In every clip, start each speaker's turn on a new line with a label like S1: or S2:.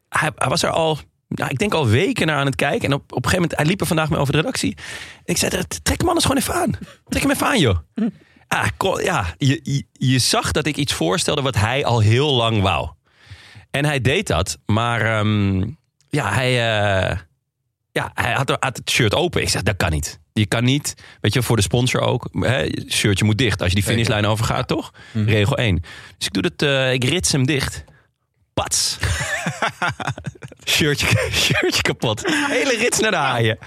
S1: hij, hij was er al, nou, ik denk al weken naar aan het kijken. En op, op een gegeven moment, hij liep er vandaag mee over de redactie. En ik zei, tegen, trek man eens gewoon even aan. Trek hem even aan, joh. Ah, kon- ja, je, je, je zag dat ik iets voorstelde wat hij al heel lang wou. En hij deed dat, maar ehm, ja, hij, eh, ja, hij had, had het shirt open. Ik zeg, dat kan niet. Die-
S2: Je kan niet, weet je, voor de sponsor ook. Hè, shirtje moet dicht als je die finishlijn overgaat, toch?
S1: Mhm.
S2: Regel 1. Dus ik doe dat, eh, ik rits hem dicht. Pats. shirtje, shirtje kapot. Hele rits naar de haaien.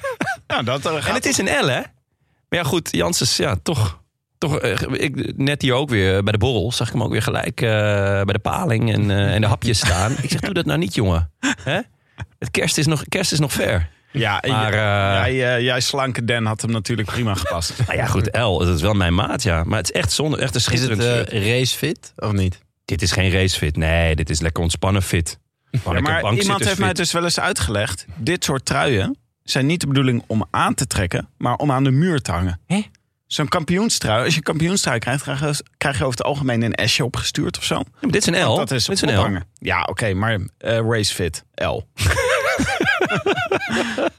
S3: Nou, dat eh,
S2: En
S3: gaat.
S2: het is een L, hè? Maar ja, goed, Janssens, ja, toch. toch eh, ik, net hier ook weer eh, bij de borrel zag ik hem ook weer gelijk eh, bij de paling en, eh, en de hapjes staan. Ik zeg, doe dat nou niet, jongen. Hè? Het kerst is nog, kerst is nog ver.
S3: ja, en
S2: Maar,
S3: j-
S2: eh,
S3: jij, eh, jij slanke Den had hem natuurlijk prima gepast.
S2: Nou ja, goed, L, dat is wel mijn maat, ja. Maar het is echt zonde, echt een
S1: Is het
S2: schitterend
S1: eh,
S2: shirt.
S1: racefit of niet?
S2: Dit is geen racefit, nee, dit is lekker ontspannen fit.
S3: Ja, maar iemand heeft mij
S2: dus...
S3: dus wel eens uitgelegd. Dit soort truien zijn niet de bedoeling om aan te trekken, maar om aan de muur te hangen.
S2: Hè?
S3: Zo'n kampioenstrui, als je een kampioenstrui krijgt, krijg je, krijg je over het algemeen een S'je opgestuurd of zo.
S2: dit is een L,
S3: Want Oh, dat is
S2: Oh, dit is een L.
S3: ophangen. Ja, oké, maar eh racefit, L.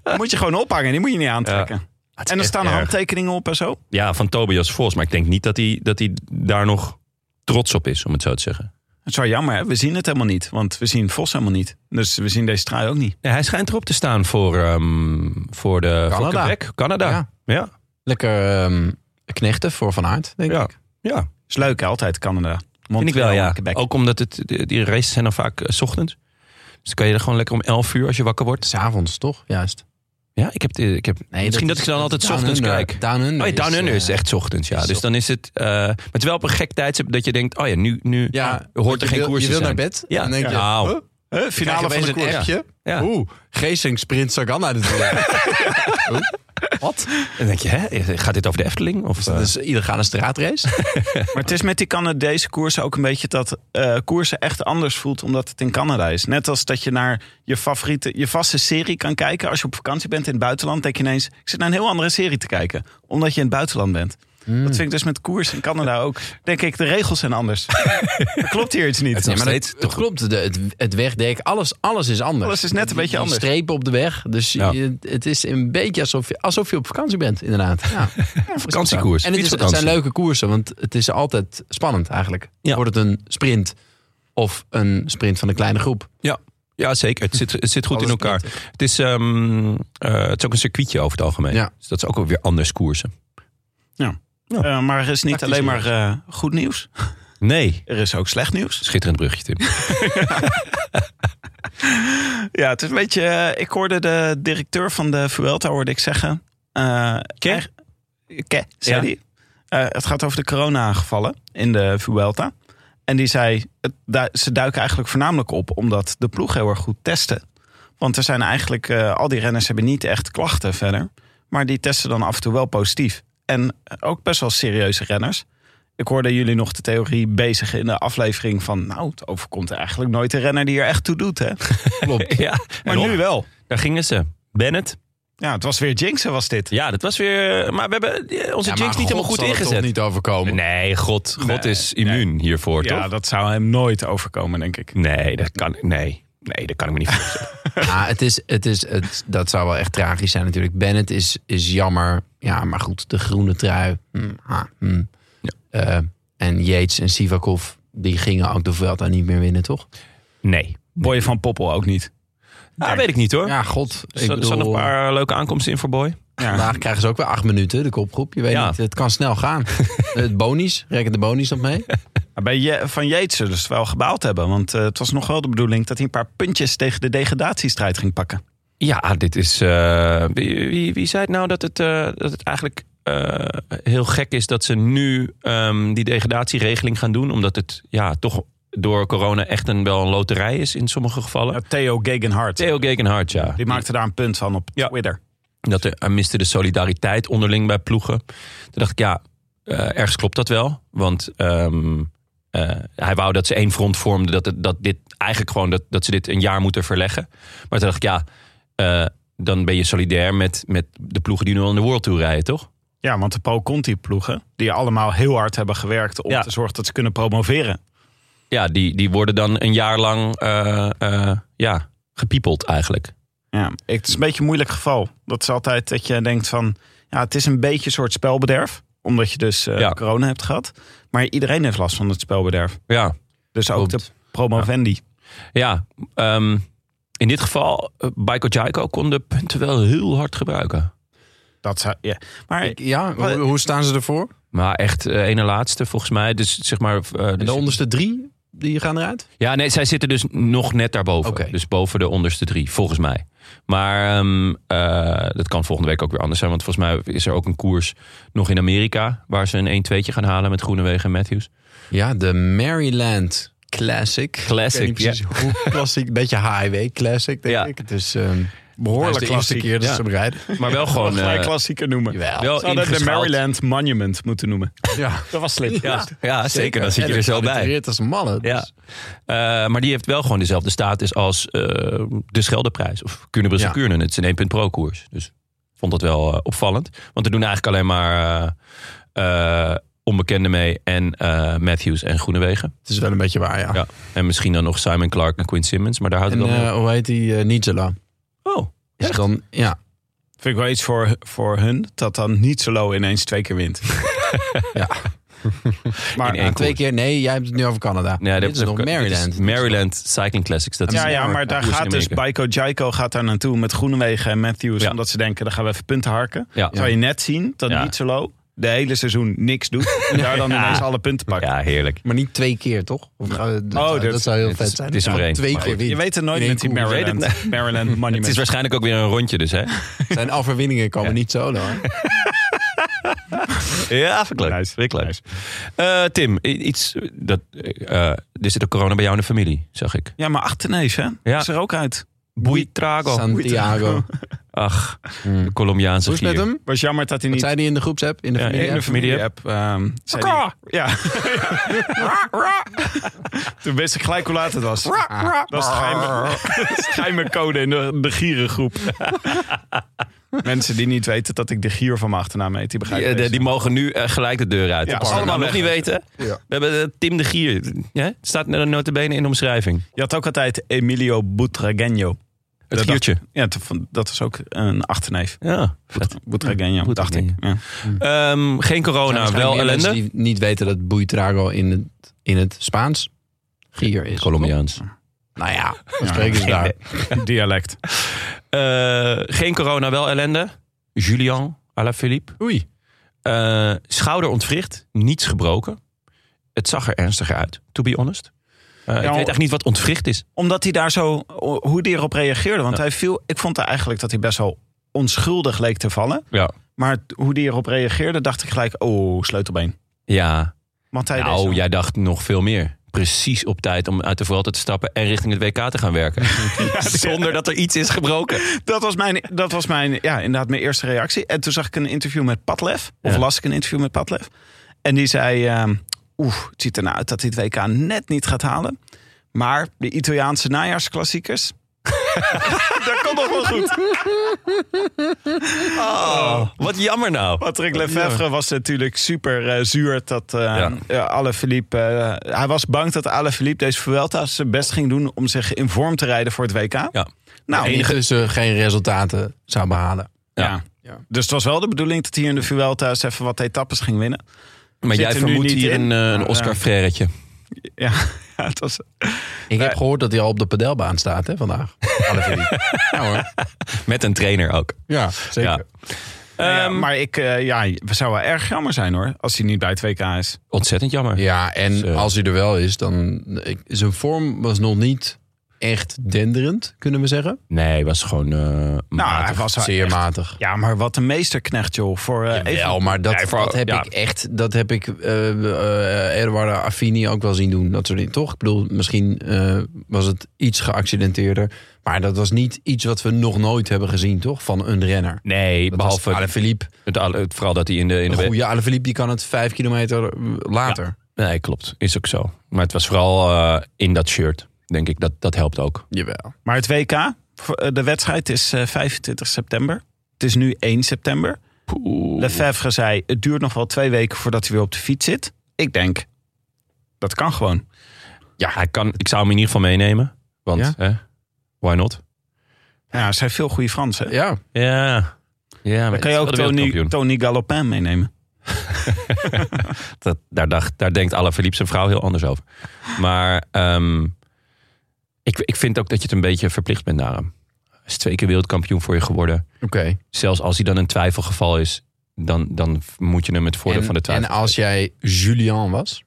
S3: Dan moet je gewoon ophangen, die moet je niet aantrekken.
S2: Het is
S3: En er
S2: echt
S3: staan
S2: erg.
S3: handtekeningen op en zo.
S2: Ja, van Tobias Vos, maar ik denk niet dat hij, dat hij daar nog trots op is, om het zo te zeggen.
S3: Het is wel jammer, hè? we zien het helemaal niet. Want we zien Vos helemaal niet. Dus we zien deze trui ook niet.
S2: Nee, hij schijnt erop te staan voor, ehm, voor de Canada. Voor
S1: Canada.
S2: Quebec, Canada. Ja.
S1: Ja.
S2: Ja.
S1: Lekker ehm, knechten voor Van Aert, denk
S2: Ja.
S1: ik.
S3: Is leuk, hè? altijd Canada.
S2: Vind ik wel,
S3: Montreal,
S2: ja. Oh,
S3: Quebec.
S2: Ook omdat het, die die races zijn dan vaak eh, 's ochtends. Dus dan kan je er gewoon lekker om 11 uur als je wakker wordt.
S1: S'avonds, toch? Juist.
S2: Ja, ik heb, de- ik heb misschien dat,
S1: is-
S2: ik dan altijd 's
S1: Down
S2: ochtends
S1: Under.
S2: kijk.
S1: Down Under.
S2: Oh ja, Down
S1: is,
S2: Under is
S1: eh,
S2: echt 's ochtends, ja.
S1: is
S2: Dus dan is het... eh, maar het is wel op een gek tijdstip dat je denkt... Oh ja, nu, nu
S1: Ja,
S2: hoort er
S1: je
S2: geen
S1: wil,
S2: koers
S1: Je
S2: te
S1: wil naar
S2: zijn.
S1: bed.
S2: Ja.
S1: En dan denk je,
S2: Nou.
S1: huh?
S3: Huh?
S1: Krijg je
S3: Finale van
S1: opeens
S3: de
S1: een
S3: koers.
S1: appje.
S2: Ja.
S1: Oeh, Geesink sprint Sagan uit het Huh? Wat?
S2: En dan denk je, hè, gaat dit over de Efteling? Of, eh?
S1: Dat dus- is illegale straatrace.
S3: Maar het is met die Canadese koersen ook een beetje dat eh, koersen echt anders voelt omdat het in Canada is. Net als dat je naar je favoriete, je vaste serie kan kijken. Als je op vakantie bent in het buitenland, denk je ineens, ik zit naar een heel andere serie te kijken. Omdat je in het buitenland bent.
S2: Hmm.
S3: Dat vind ik dus met koers in Canada ook. Denk ik, de regels zijn anders. Er klopt hier iets niet.
S2: Het is nog
S1: maar
S2: steeds
S1: dat, het klopt, de, het, het wegdek, alles, alles is anders.
S3: Alles is net een
S1: Die-
S3: beetje
S1: die
S3: anders.
S1: strepen op de weg. Dus
S2: Ja.
S1: je- het is een beetje alsof je, alsof je op vakantie bent, inderdaad. Ja.
S2: vakantiekoers.
S1: En het, is, het
S2: Fietsvakantie.
S1: zijn leuke koersen, want het is altijd spannend eigenlijk.
S2: Ja.
S1: Wordt het een sprint of een sprint van een kleine groep?
S2: Ja, ja zeker. Het zit, het zit goed in
S1: Alles
S2: elkaar. Het is, ehm, eh, het is ook een circuitje over het algemeen.
S1: Ja.
S2: Dus dat is ook wel weer anders koersen.
S3: Eh, maar er is niet
S1: Tactisch
S3: alleen maar eh, goed nieuws.
S2: Nee.
S3: Er is ook slecht nieuws.
S2: Schitterend brugje, Tim.
S3: Ja, het is een beetje. eh, ik hoorde de directeur van de Vuelta hoorde ik zeggen. eh Ke? Ke, zei
S2: Ja.
S3: die. Eh, het gaat over de corona-gevallen in de Vuelta. En die zei, het, du- ze duiken eigenlijk voornamelijk op omdat de ploeg heel erg goed testen. Want er zijn eigenlijk, eh, al die renners hebben niet echt klachten verder. Maar die testen dan af en toe wel positief. En ook best wel serieuze renners. Ik hoorde jullie nog de theorie bezig in de aflevering van... nou, het overkomt eigenlijk nooit een renner die er echt toe doet, hè?
S1: Klopt.
S2: ja.
S3: Maar
S2: En op-
S3: nu wel.
S2: Daar gingen ze. Bennett.
S3: Ja, het was weer Jinxen was dit.
S2: Ja, dat was weer... Maar we hebben eh, onze
S1: Ja,
S2: jinx
S1: maar
S2: niet helemaal
S1: God
S2: goed
S1: zal het toch
S2: ingezet.
S1: niet overkomen.
S2: Nee, God, God
S3: Nee,
S2: is immuun hiervoor,
S3: Ja,
S2: toch?
S3: dat zou hem nooit overkomen, denk ik.
S2: Nee, dat kan, nee. nee, dat kan ik me niet voorstellen.
S1: Ja, Ah, het is, het is, het, dat zou wel echt tragisch zijn natuurlijk. Bennett is, is jammer. Ja, maar goed, de groene trui. Hm, ah, hm. Eh, en Yates en Sivakov, die gingen ook de Vuelta niet meer winnen, toch?
S2: nee.
S3: Boy van Poppel ook niet.
S2: Ah, weet ik niet, hoor.
S1: Ja, god.
S2: Er
S1: Ik
S2: staan- er staan nog
S1: bedoel, eh,
S2: een paar leuke aankomsten in voor Boy.
S1: vandaag krijgen ze ook weer acht minuten, de kopgroep. Je weet
S2: Ja.
S1: niet, het kan snel gaan. het bonies, reken de bonies nog mee?
S3: Maar Bij Je- van Yates zullen ze wel gebaald hebben. Want eh, het was nog wel de bedoeling dat hij een paar puntjes tegen de degradatiestrijd ging pakken.
S2: Ja, dit is. eh, wie, wie, wie zei het nou dat het, eh, dat het eigenlijk eh, heel gek is dat ze nu ehm, die degradatieregeling gaan doen? Omdat het ja, toch door corona echt een, wel een loterij is in sommige gevallen.
S3: Theo Gegenhardt.
S2: Theo Gegenhardt, ja.
S3: Die maakte daar een punt van op
S2: Ja.
S3: Twitter.
S2: Dat er, hij miste de solidariteit onderling bij ploegen. Toen dacht ik, ja, eh, ergens klopt dat wel. Want ehm, eh, hij wou dat ze één front vormden. Dat, het- dat, dit, eigenlijk gewoon dat, dat ze dit een jaar moeten verleggen. Maar toen dacht ik, ja, eh, dan ben je solidair met, met de ploegen die nu al in de World Tour rijden, toch?
S3: Ja, want de Pro Conti ploegen, die allemaal heel hard hebben gewerkt om
S2: Ja.
S3: te zorgen dat ze kunnen promoveren.
S2: Ja, die, die worden dan een jaar lang eh, eh, ja, gepiepeld eigenlijk.
S3: Ja, ik- het is een beetje een moeilijk geval. Dat is altijd dat je denkt van, ja, het is een beetje een soort spelbederf. Omdat je dus eh,
S2: Ja.
S3: corona hebt gehad. Maar iedereen heeft last van het spelbederf.
S2: Ja,
S3: Dus ook
S2: Klopt.
S3: de promovendi.
S2: ja eh, ehm, in dit geval, uh, Baiko Jaiko kon de punten wel heel hard gebruiken.
S3: Dat zou, ja. Maar
S1: Ik- ja, hoe, hoe staan ze ervoor?
S2: Maar echt eh ene laatste volgens mij. Dus zeg maar. eh,
S1: En
S2: dus-
S1: de onderste drie, die gaan eruit?
S2: Ja, nee, zij zitten dus nog net daarboven.
S1: Oké.
S2: Dus boven de onderste drie, volgens mij. Maar ehm, eh, dat kan volgende week ook weer anders zijn. Want volgens mij is er ook een koers nog in Amerika. Waar ze een 1-2'tje gaan halen met Groenewegen en Matthews.
S1: Ja, de Maryland Classic.
S2: Classic,
S1: Ik weet niet precies hoe klassiek. Een beetje highway classic, denk
S2: Ja.
S1: ik. Het is ehm,
S3: behoorlijk
S1: hij is de eerste
S3: klassiek.
S1: keer dat
S2: Ja.
S1: ze hem rijden.
S2: Maar wel gewoon.
S3: Gelijk
S2: eh,
S3: klassieker noemen.
S1: Jawel.
S2: wel
S3: Ze hadden de
S2: ingeschaald.
S3: Maryland Monument moeten noemen.
S1: Ja,
S3: Dat was slim.
S2: Ja, ja zeker. Dan zit je
S1: En
S2: er
S1: het
S2: zo bij.
S1: gedecoreerd als mannen. dus-
S2: Ja. Eh, maar die heeft wel gewoon dezelfde status als eh, de Scheldeprijs. Of Kuurne-Brussel
S1: Ja.
S2: Kuurne. Het is een 1 punt pro koers. Dus ik vond dat wel eh, opvallend. Want er doen eigenlijk alleen maar eh, eh, onbekenden mee. En eh, Matthews en Groenewegen.
S1: Het is wel een beetje waar, ja.
S2: Ja. En misschien dan nog Simon Clark en Quinn Simmons. Maar daar houdt
S1: Ah. En
S2: het dan
S1: eh,
S2: op.
S1: hoe heet die? eh, Nigella.
S2: Oh,
S1: Is
S2: Echt?
S1: dan, ja,
S3: Vind ik wel iets voor, voor hun. Dat dan niet solo ineens twee keer wint.
S1: Ja.
S3: Maar
S2: In één
S1: Ah, twee keer. Nee, jij hebt het nu over Canada.
S2: nee,
S1: dit is nog Maryland.
S2: Maryland Cycling Classics. Dat
S3: Ja,
S2: is
S3: ja,
S1: een
S3: maar daar
S2: koers in
S3: gaat dus
S2: Amerika.
S3: Baiko Jaiko gaat daar naartoe met Groenewegen en Matthews.
S2: Ja.
S3: Omdat ze denken, daar gaan we even punten harken.
S2: Ja.
S3: Zou je net zien dat
S2: Ja.
S3: niet zo low de hele seizoen niks doet. En daar dan
S2: Ja.
S3: ineens alle punten pakt.
S2: ja, heerlijk.
S1: Maar niet twee keer, toch? Of gaan we- dat,
S3: Oh,
S1: zou,
S3: dat-
S1: dat zou heel
S2: het
S1: vet
S2: is-
S1: zijn.
S2: het is er maar
S1: Gewoon
S2: één.
S1: twee
S2: Maar
S1: keer
S2: je
S1: win.
S3: Je weet het nooit
S1: In één
S3: met die
S1: koers.
S3: Maryland, Maryland Monument.
S2: Het is waarschijnlijk ook weer een rondje dus, hè?
S1: Zijn overwinningen komen
S2: Ja.
S1: niet solo. Hè?
S2: Ja, vind ik leuk.
S3: Nice.
S2: Vind ik leuk. Eh, Tim, i- iets. eh, Dat, eh, eh, er zit ook corona bij jou in de familie, zag ik.
S3: Ja, maar achterneef, hè?
S2: Ja.
S3: Is er ook uit.
S2: Buitrago.
S1: Santiago.
S2: Ach, de Colombiaanse
S1: Hoe is het
S2: gier.
S1: met hem?
S3: Was jammer dat hij
S1: Wat
S3: niet...
S1: zei hij in de groepsapp? In de
S2: Ja,
S1: familie?
S2: in de familie.
S3: app. ehm, zei
S2: Akka!
S3: die- ja. Toen wist ik gelijk hoe laat het was. Dat is de geheime, dat is de geheime code in de, de gierengroep. Mensen die niet weten dat ik de gier van mijn achternaam heet, die
S2: Die,
S3: begrijpen
S2: eh, de-
S3: deze.
S2: die mogen nu eh, gelijk de deur uit.
S3: Ja,
S2: Als ze allemaal nog
S3: allemaal
S2: niet weten. We hebben eh, Tim de Gier. Ja, het staat er notabene in de omschrijving.
S3: Je had ook altijd Emilio Butragueño.
S2: Het
S3: Dat
S2: giertje.
S3: dacht- Ja, dat vond- dat is ook een achterneef.
S2: Ja, vet.
S3: Butragueño, dacht ik. Ja.
S2: Ehm, geen corona,
S1: Waarschijnlijk
S2: wel
S1: meer mensen
S2: ellende.
S1: die niet weten dat Buitrago in het, in het Spaans gier is.
S2: Colombiaans.
S1: Nou ja, dan spreken ze daar.
S3: Dialect.
S2: Eh, geen corona, wel ellende. Julian Alaphilippe.
S1: Oei.
S2: Eh, schouder ontwricht, niets gebroken. Het zag er ernstiger uit, to be honest. Eh, ik weet eigenlijk niet wat ontwricht is.
S3: Omdat hij daar zo, hoe hij erop reageerde. Want
S2: Ja.
S3: hij viel, ik vond eigenlijk dat hij best wel onschuldig leek te vallen.
S2: Ja.
S3: Maar t- hoe die erop reageerde, dacht ik gleich oh, sleutelbeen.
S2: Ja,
S3: Want hij deed zo.
S2: nou, jij dacht nog veel meer. Precies op tijd om uit de Vuelta te stappen en richting het WK te gaan werken. Zonder dat er iets is gebroken.
S3: dat was, mijn, dat was mijn, ja, inderdaad mijn eerste reactie. En toen zag ik een interview met Patlev. Of
S2: Ja.
S3: las ik een interview met Patlev. En die zei, ehm oeh, het ziet ernaar uit dat hij het WK net niet gaat halen. Maar de Italiaanse najaarsklassiekers... dat komt nog wel goed.
S2: Wat jammer nou.
S3: Patrick Lefevre was natuurlijk super eh, zuur dat eh
S2: Ja.
S3: eh, Alaphilippe... eh, hij was bang dat Alaphilippe deze Vuelta zijn best ging doen... om zich in vorm te rijden voor het WK.
S2: Ja.
S3: Nou,
S1: Nou, enige
S3: ja.
S1: dus eh, geen resultaten zou behalen.
S3: Ja. Dus het was wel de bedoeling dat hij in de Vuelta eens even wat etappes ging winnen.
S2: Maar
S3: Zit
S2: jij
S3: er nu
S2: vermoedt
S3: niet
S2: hier
S3: in,
S2: een, eh, een
S3: maar,
S2: Oscar
S3: eh,
S2: Freretje.
S3: Ja, ja het was,
S1: Ik heb gehoord dat hij al op de padelbaan staat hè, vandaag. Alaphilippe. ja hoor.
S2: Met een trainer ook.
S1: Ja, zeker.
S2: Ja.
S3: Nou ja,
S2: Ehm,
S3: maar ik, eh, ja, het zou wel erg jammer zijn hoor, als hij niet bij het WK is.
S2: Ontzettend jammer.
S1: Ja, en
S2: Zo.
S1: als hij er wel is, dan... ik- zijn vorm was nog niet echt denderend, kunnen we zeggen.
S2: Nee, was gewoon. eh,
S3: Nou,
S2: matig.
S3: hij was wel
S1: Zeer
S3: echt-
S1: matig.
S3: Ja, maar wat een meesterknecht joh. Voor, eh, even,
S1: Wel, maar dat,
S2: Ja, voor-
S1: dat heb
S2: ja.
S1: ik echt... Dat heb ik eh eh, Eduardo Affini ook wel zien doen. Dat soort dingen, toch? Ik bedoel, misschien eh, was het iets geaccidenteerder. Maar dat was niet iets wat we nog nooit hebben gezien, toch? Van een renner.
S2: nee,
S1: Dat
S2: behalve
S1: was Alaphilippe.
S2: het, alle- het, vooral dat hij in de. In
S1: Een
S2: de
S1: goede Alaphilippe, die kan het vijf kilometer eh, later.
S2: Nee, klopt. Is ook zo. Maar het was vooral eh, in dat shirt, denk ik. Dat, dat helpt ook.
S1: Jawel.
S3: maar het WK, voor, eh, de wedstrijd is eh, 25 september. Het is nu 1 september. Lefebvre zei, het duurt nog wel twee weken voordat hij weer op de fiets zit. Ik denk, dat kan gewoon.
S2: Ja, hij kan, ik zou hem in ieder geval meenemen. Want,
S1: Ja?
S2: hè, why not?
S3: Ja, er zijn veel goede Fransen.
S1: Ja,
S2: Ja. Ja, maar
S3: Dan kan je ook
S2: het is wel de
S3: Tony,
S2: wereldkampioen.
S3: Tony Galopin meenemen.
S2: Dat, daar, dacht, daar denkt Alaphilippe zijn vrouw heel anders over. Maar ehm, ik, ik vind ook dat je het een beetje verplicht bent naar hem. is twee keer wereldkampioen voor je geworden.
S1: Oké.
S2: Zelfs als hij dan een twijfelgeval is, dan, dan moet je hem het voordeel
S1: En,
S2: van de twijfel.
S1: en als jij Julian was,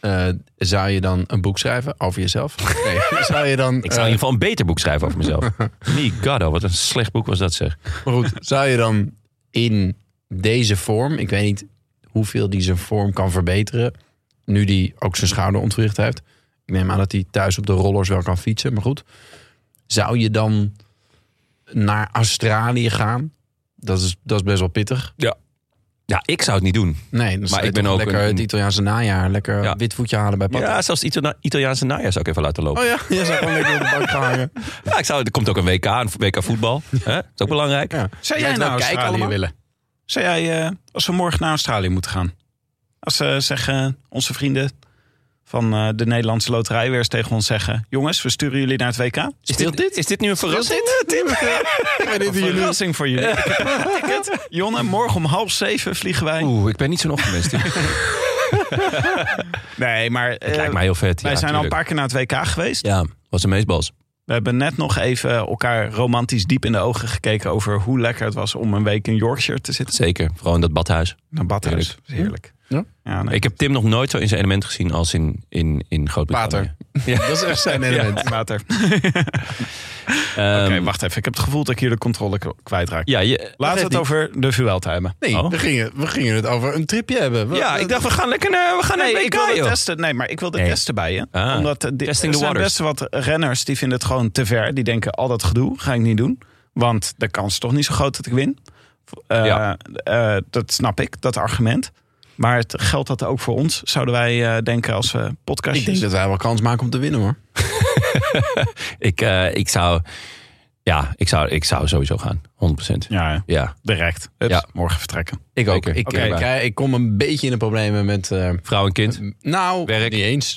S1: eh, zou je dan een boek schrijven over jezelf? Nee, zou je dan... eh,
S2: Ik zou in ieder geval een beter boek schrijven over mezelf. Me Goddo, wat een slecht boek was dat zeg.
S1: Maar goed, zou je dan in deze vorm, ik weet niet hoeveel die zijn vorm kan verbeteren, nu die ook zijn schouder ontwricht heeft. Ik neem aan dat hij thuis op de rollers wel kan fietsen, maar goed. Zou je dan naar Australië gaan? Dat is, dat is best wel pittig.
S2: Ja, ik zou het niet doen.
S1: Nee, dan
S2: Maar
S1: maar ik
S2: ik ben ook
S1: lekker
S2: een-
S1: het Italiaanse najaar, lekker
S2: Ja.
S1: wit voetje halen bij papa.
S2: Ja, zelfs het Itali- Italiaanse najaar zou ik even laten lopen.
S1: Oh ja, je zou gewoon lekker op de bank gaan hangen.
S2: Ja, ik zou, er komt ook een WK, een WK voetbal. Hè? Dat is ook belangrijk.
S1: Ja.
S3: Zou
S1: Je
S2: nou
S3: jij
S1: weet wel
S3: naar
S1: kijken
S3: Australië
S1: allemaal?
S3: willen? Zou jij, eh, als we morgen naar Australië moeten gaan, als ze zeggen, onze vrienden van eh, de Nederlandse Loterij weer eens tegen ons zeggen: jongens, we sturen jullie naar het WK.
S2: Is dit, Is dit nu een verrassing?
S3: Een verrassing voor jullie. Ik heb een ticket. Jonne, morgen om half zeven vliegen wij.
S2: Oeh, ik ben niet zo'n ochtendmens. Het
S3: Nee, maar eh,
S2: lijkt mij heel vet.
S3: wij
S2: ja,
S3: zijn al een
S2: tuurlijk.
S3: paar keer naar het WK geweest.
S2: Ja, was een meesbals.
S3: We hebben net nog even elkaar romantisch diep in de ogen gekeken over hoe lekker het was om een week in Yorkshire te zitten.
S2: Zeker, vooral in dat badhuis.
S3: Naar Badhuis. Heerlijk.
S1: Ja.
S3: Ja, nee.
S2: Ik heb Tim nog nooit zo in zijn element gezien als in, in, in Groot-Brittannië.
S1: Water. Dat is echt zijn element.
S3: Water.
S2: Ehm,
S3: Oké, wacht even. Ik heb het gevoel dat ik hier de controle k- kwijtraak.
S2: ja, je,
S3: Laten we het
S1: niet.
S3: over de Vuelta hebben.
S1: Nee,
S2: Oh.
S1: we, gingen, we gingen het over een tripje hebben. We-
S2: ja, ik dacht we gaan lekker naar, we gaan naar
S3: Nee,
S2: het
S3: ik
S2: WK,
S3: wilde
S2: joh.
S3: testen. Nee, maar ik wilde
S2: Nee.
S3: testen bij je.
S2: Ah,
S3: Omdat eh, di-
S2: testing
S3: er
S2: the
S3: zijn
S2: waters.
S3: best wat renners die vinden het gewoon te ver. Die denken, al dat gedoe ga ik niet doen. Want de kans is toch niet zo groot dat ik win. Eh,
S2: Ja.
S3: eh, dat snap ik, dat argument. Maar het geldt dat ook voor ons, zouden wij eh, denken als we
S1: Ik denk
S3: podcastjes.
S1: dat wij wel kans maken om te winnen hoor.
S2: Ik, eh, ik, zou, ja, ik, zou, ik zou sowieso gaan, 100%.
S3: Ja, ja,
S2: Ja,
S3: direct. Hups,
S2: Ja.
S3: Morgen vertrekken.
S1: Ik ook.
S2: Zeker.
S1: Ik,
S2: Oké.
S1: eh, krijg- ik kom een beetje in de problemen met. eh,
S2: vrouw en kind,
S1: nou,
S2: Werk.
S1: niet eens.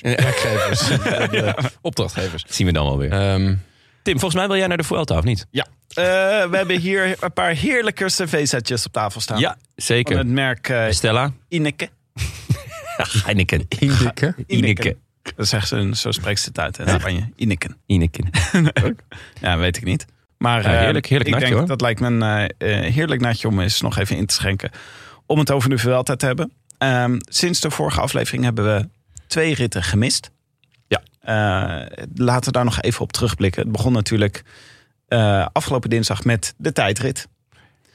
S1: Werkgevers. Eh, Opdrachtgevers.
S2: zien we dan wel weer.
S1: Ehm,
S2: Tim, volgens mij wil jij naar de Vuelta, of niet?
S3: Eh, we hebben hier een paar heerlijke cervezetjes op tafel staan.
S2: Ja,
S3: Van het
S2: zeker.
S3: merk eh
S2: Stella.
S3: Ineke.
S2: Heineken. Ineke.
S3: Ineken. Dat zegt ze, zo spreekt ze het uit in Spanje. Ineken.
S2: Ineken.
S3: Ja, weet ik niet. Maar
S2: Ja,
S3: eh,
S2: heerlijk- heerlijk
S3: ik
S2: natje,
S3: denk
S2: hoor.
S3: dat lijkt me een eh, eh, heerlijk natje om eens nog even in te schenken. Om het over de Vuelta te hebben. Ehm, sinds de vorige aflevering hebben we twee ritten gemist.
S2: Ja.
S3: Eh, laten we daar nog even op terugblikken. Het begon natuurlijk eh, afgelopen dinsdag met de tijdrit.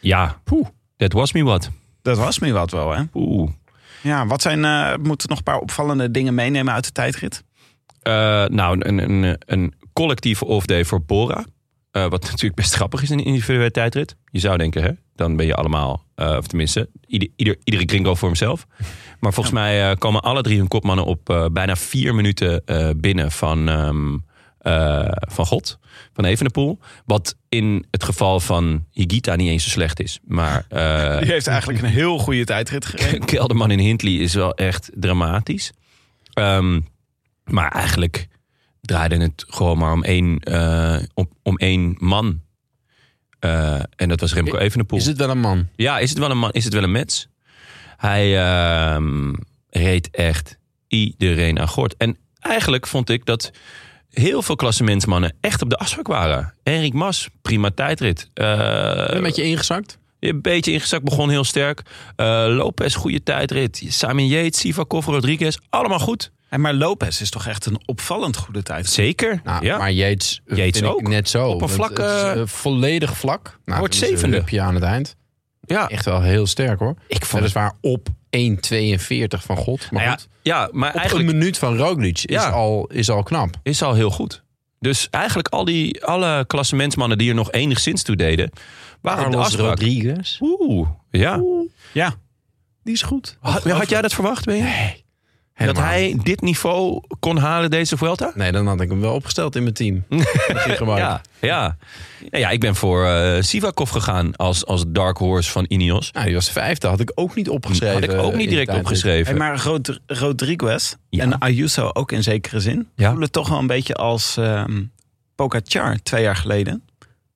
S2: Ja, poeh. That was me what.
S3: Dat was me wat wel, hè?
S2: Poeh.
S3: Ja, wat zijn, eh, we moeten nog een paar opvallende dingen meenemen uit de tijdrit?
S2: Eh, nou, een, een, een collectieve off-day voor Bora. Eh, wat natuurlijk best grappig is in een individuele tijdrit. Je zou denken, hè, dan ben je allemaal, eh, of tenminste, ieder, ieder, iedere gringo voor hemzelf. Maar volgens mij eh, komen alle drie hun kopmannen op eh, bijna vier minuten eh, binnen van, ehm, eh, van God, van Evenepoel. Wat in het geval van Higita niet eens zo slecht is. Maar eh,
S3: Die heeft eigenlijk een heel goede tijdrit gereden.
S2: Kelderman in Hindley is wel echt dramatisch. Ehm, maar eigenlijk draaide het gewoon maar om één, eh, om, om één man. Eh, en dat was Remco Evenepoel.
S1: is het wel een man?
S2: Ja, is het wel een man? Is het wel een mens? Hij ehm, reed echt iedereen aan gort. En eigenlijk vond ik dat heel veel klassementsmannen echt op de afspraak waren. Henrik Mas, prima tijdrit. Eh,
S1: een beetje ingezakt?
S2: een beetje ingezakt, begon heel sterk. Eh Lopez, goede tijdrit. Simon Yates, Sivakov, Rodriguez, allemaal goed.
S3: En maar Lopez is toch echt een opvallend goede tijdrit.
S2: Zeker.
S1: Nou,
S2: ja.
S1: Maar Yates, eh,
S2: Yates
S1: vind
S2: ook.
S1: ik net zo.
S2: Op een
S1: Want
S2: vlak,
S1: het is,
S2: eh,
S1: eh, volledig vlak. Nou,
S2: wordt
S1: dat is een
S2: zevende.
S1: hupje aan het eind.
S2: ja.
S1: Echt wel heel sterk hoor.
S2: Ik vond het,
S1: Weliswaar op 1,42 van God. Maar
S2: nou ja,
S1: goed,
S2: ja, maar
S1: op een
S2: eigenlijk
S1: minuut van Roglic is,
S2: Ja.
S1: al, is al knap.
S2: is al heel goed. Dus eigenlijk al die, alle klassementsmannen die er nog enigszins toe deden, waren op de
S1: Carlos
S2: afspraak.
S1: Rodriguez.
S2: Oeh, ja.
S3: Ja.
S1: Die is goed.
S2: Had, had jij dat verwacht, ben je? dat
S1: Helemaal
S2: hij dit niveau kon halen deze Vuelta?
S1: Nee, dan had ik hem wel opgesteld in mijn team.
S2: Ja, ja. Nou ja, ik ben voor eh Sivakov gegaan als, als dark horse van Ineos.
S1: Nou, die was vijfde. Had ik ook niet opgeschreven. eh,
S2: Had ik ook
S1: in de
S2: niet direct
S1: tijd.
S2: opgeschreven.
S3: Hey, maar Rod- Rodriguez
S2: Ja.
S3: en Ayuso ook in zekere zin
S2: Ja.
S3: voelen toch wel een beetje als ehm Pogacar twee jaar geleden.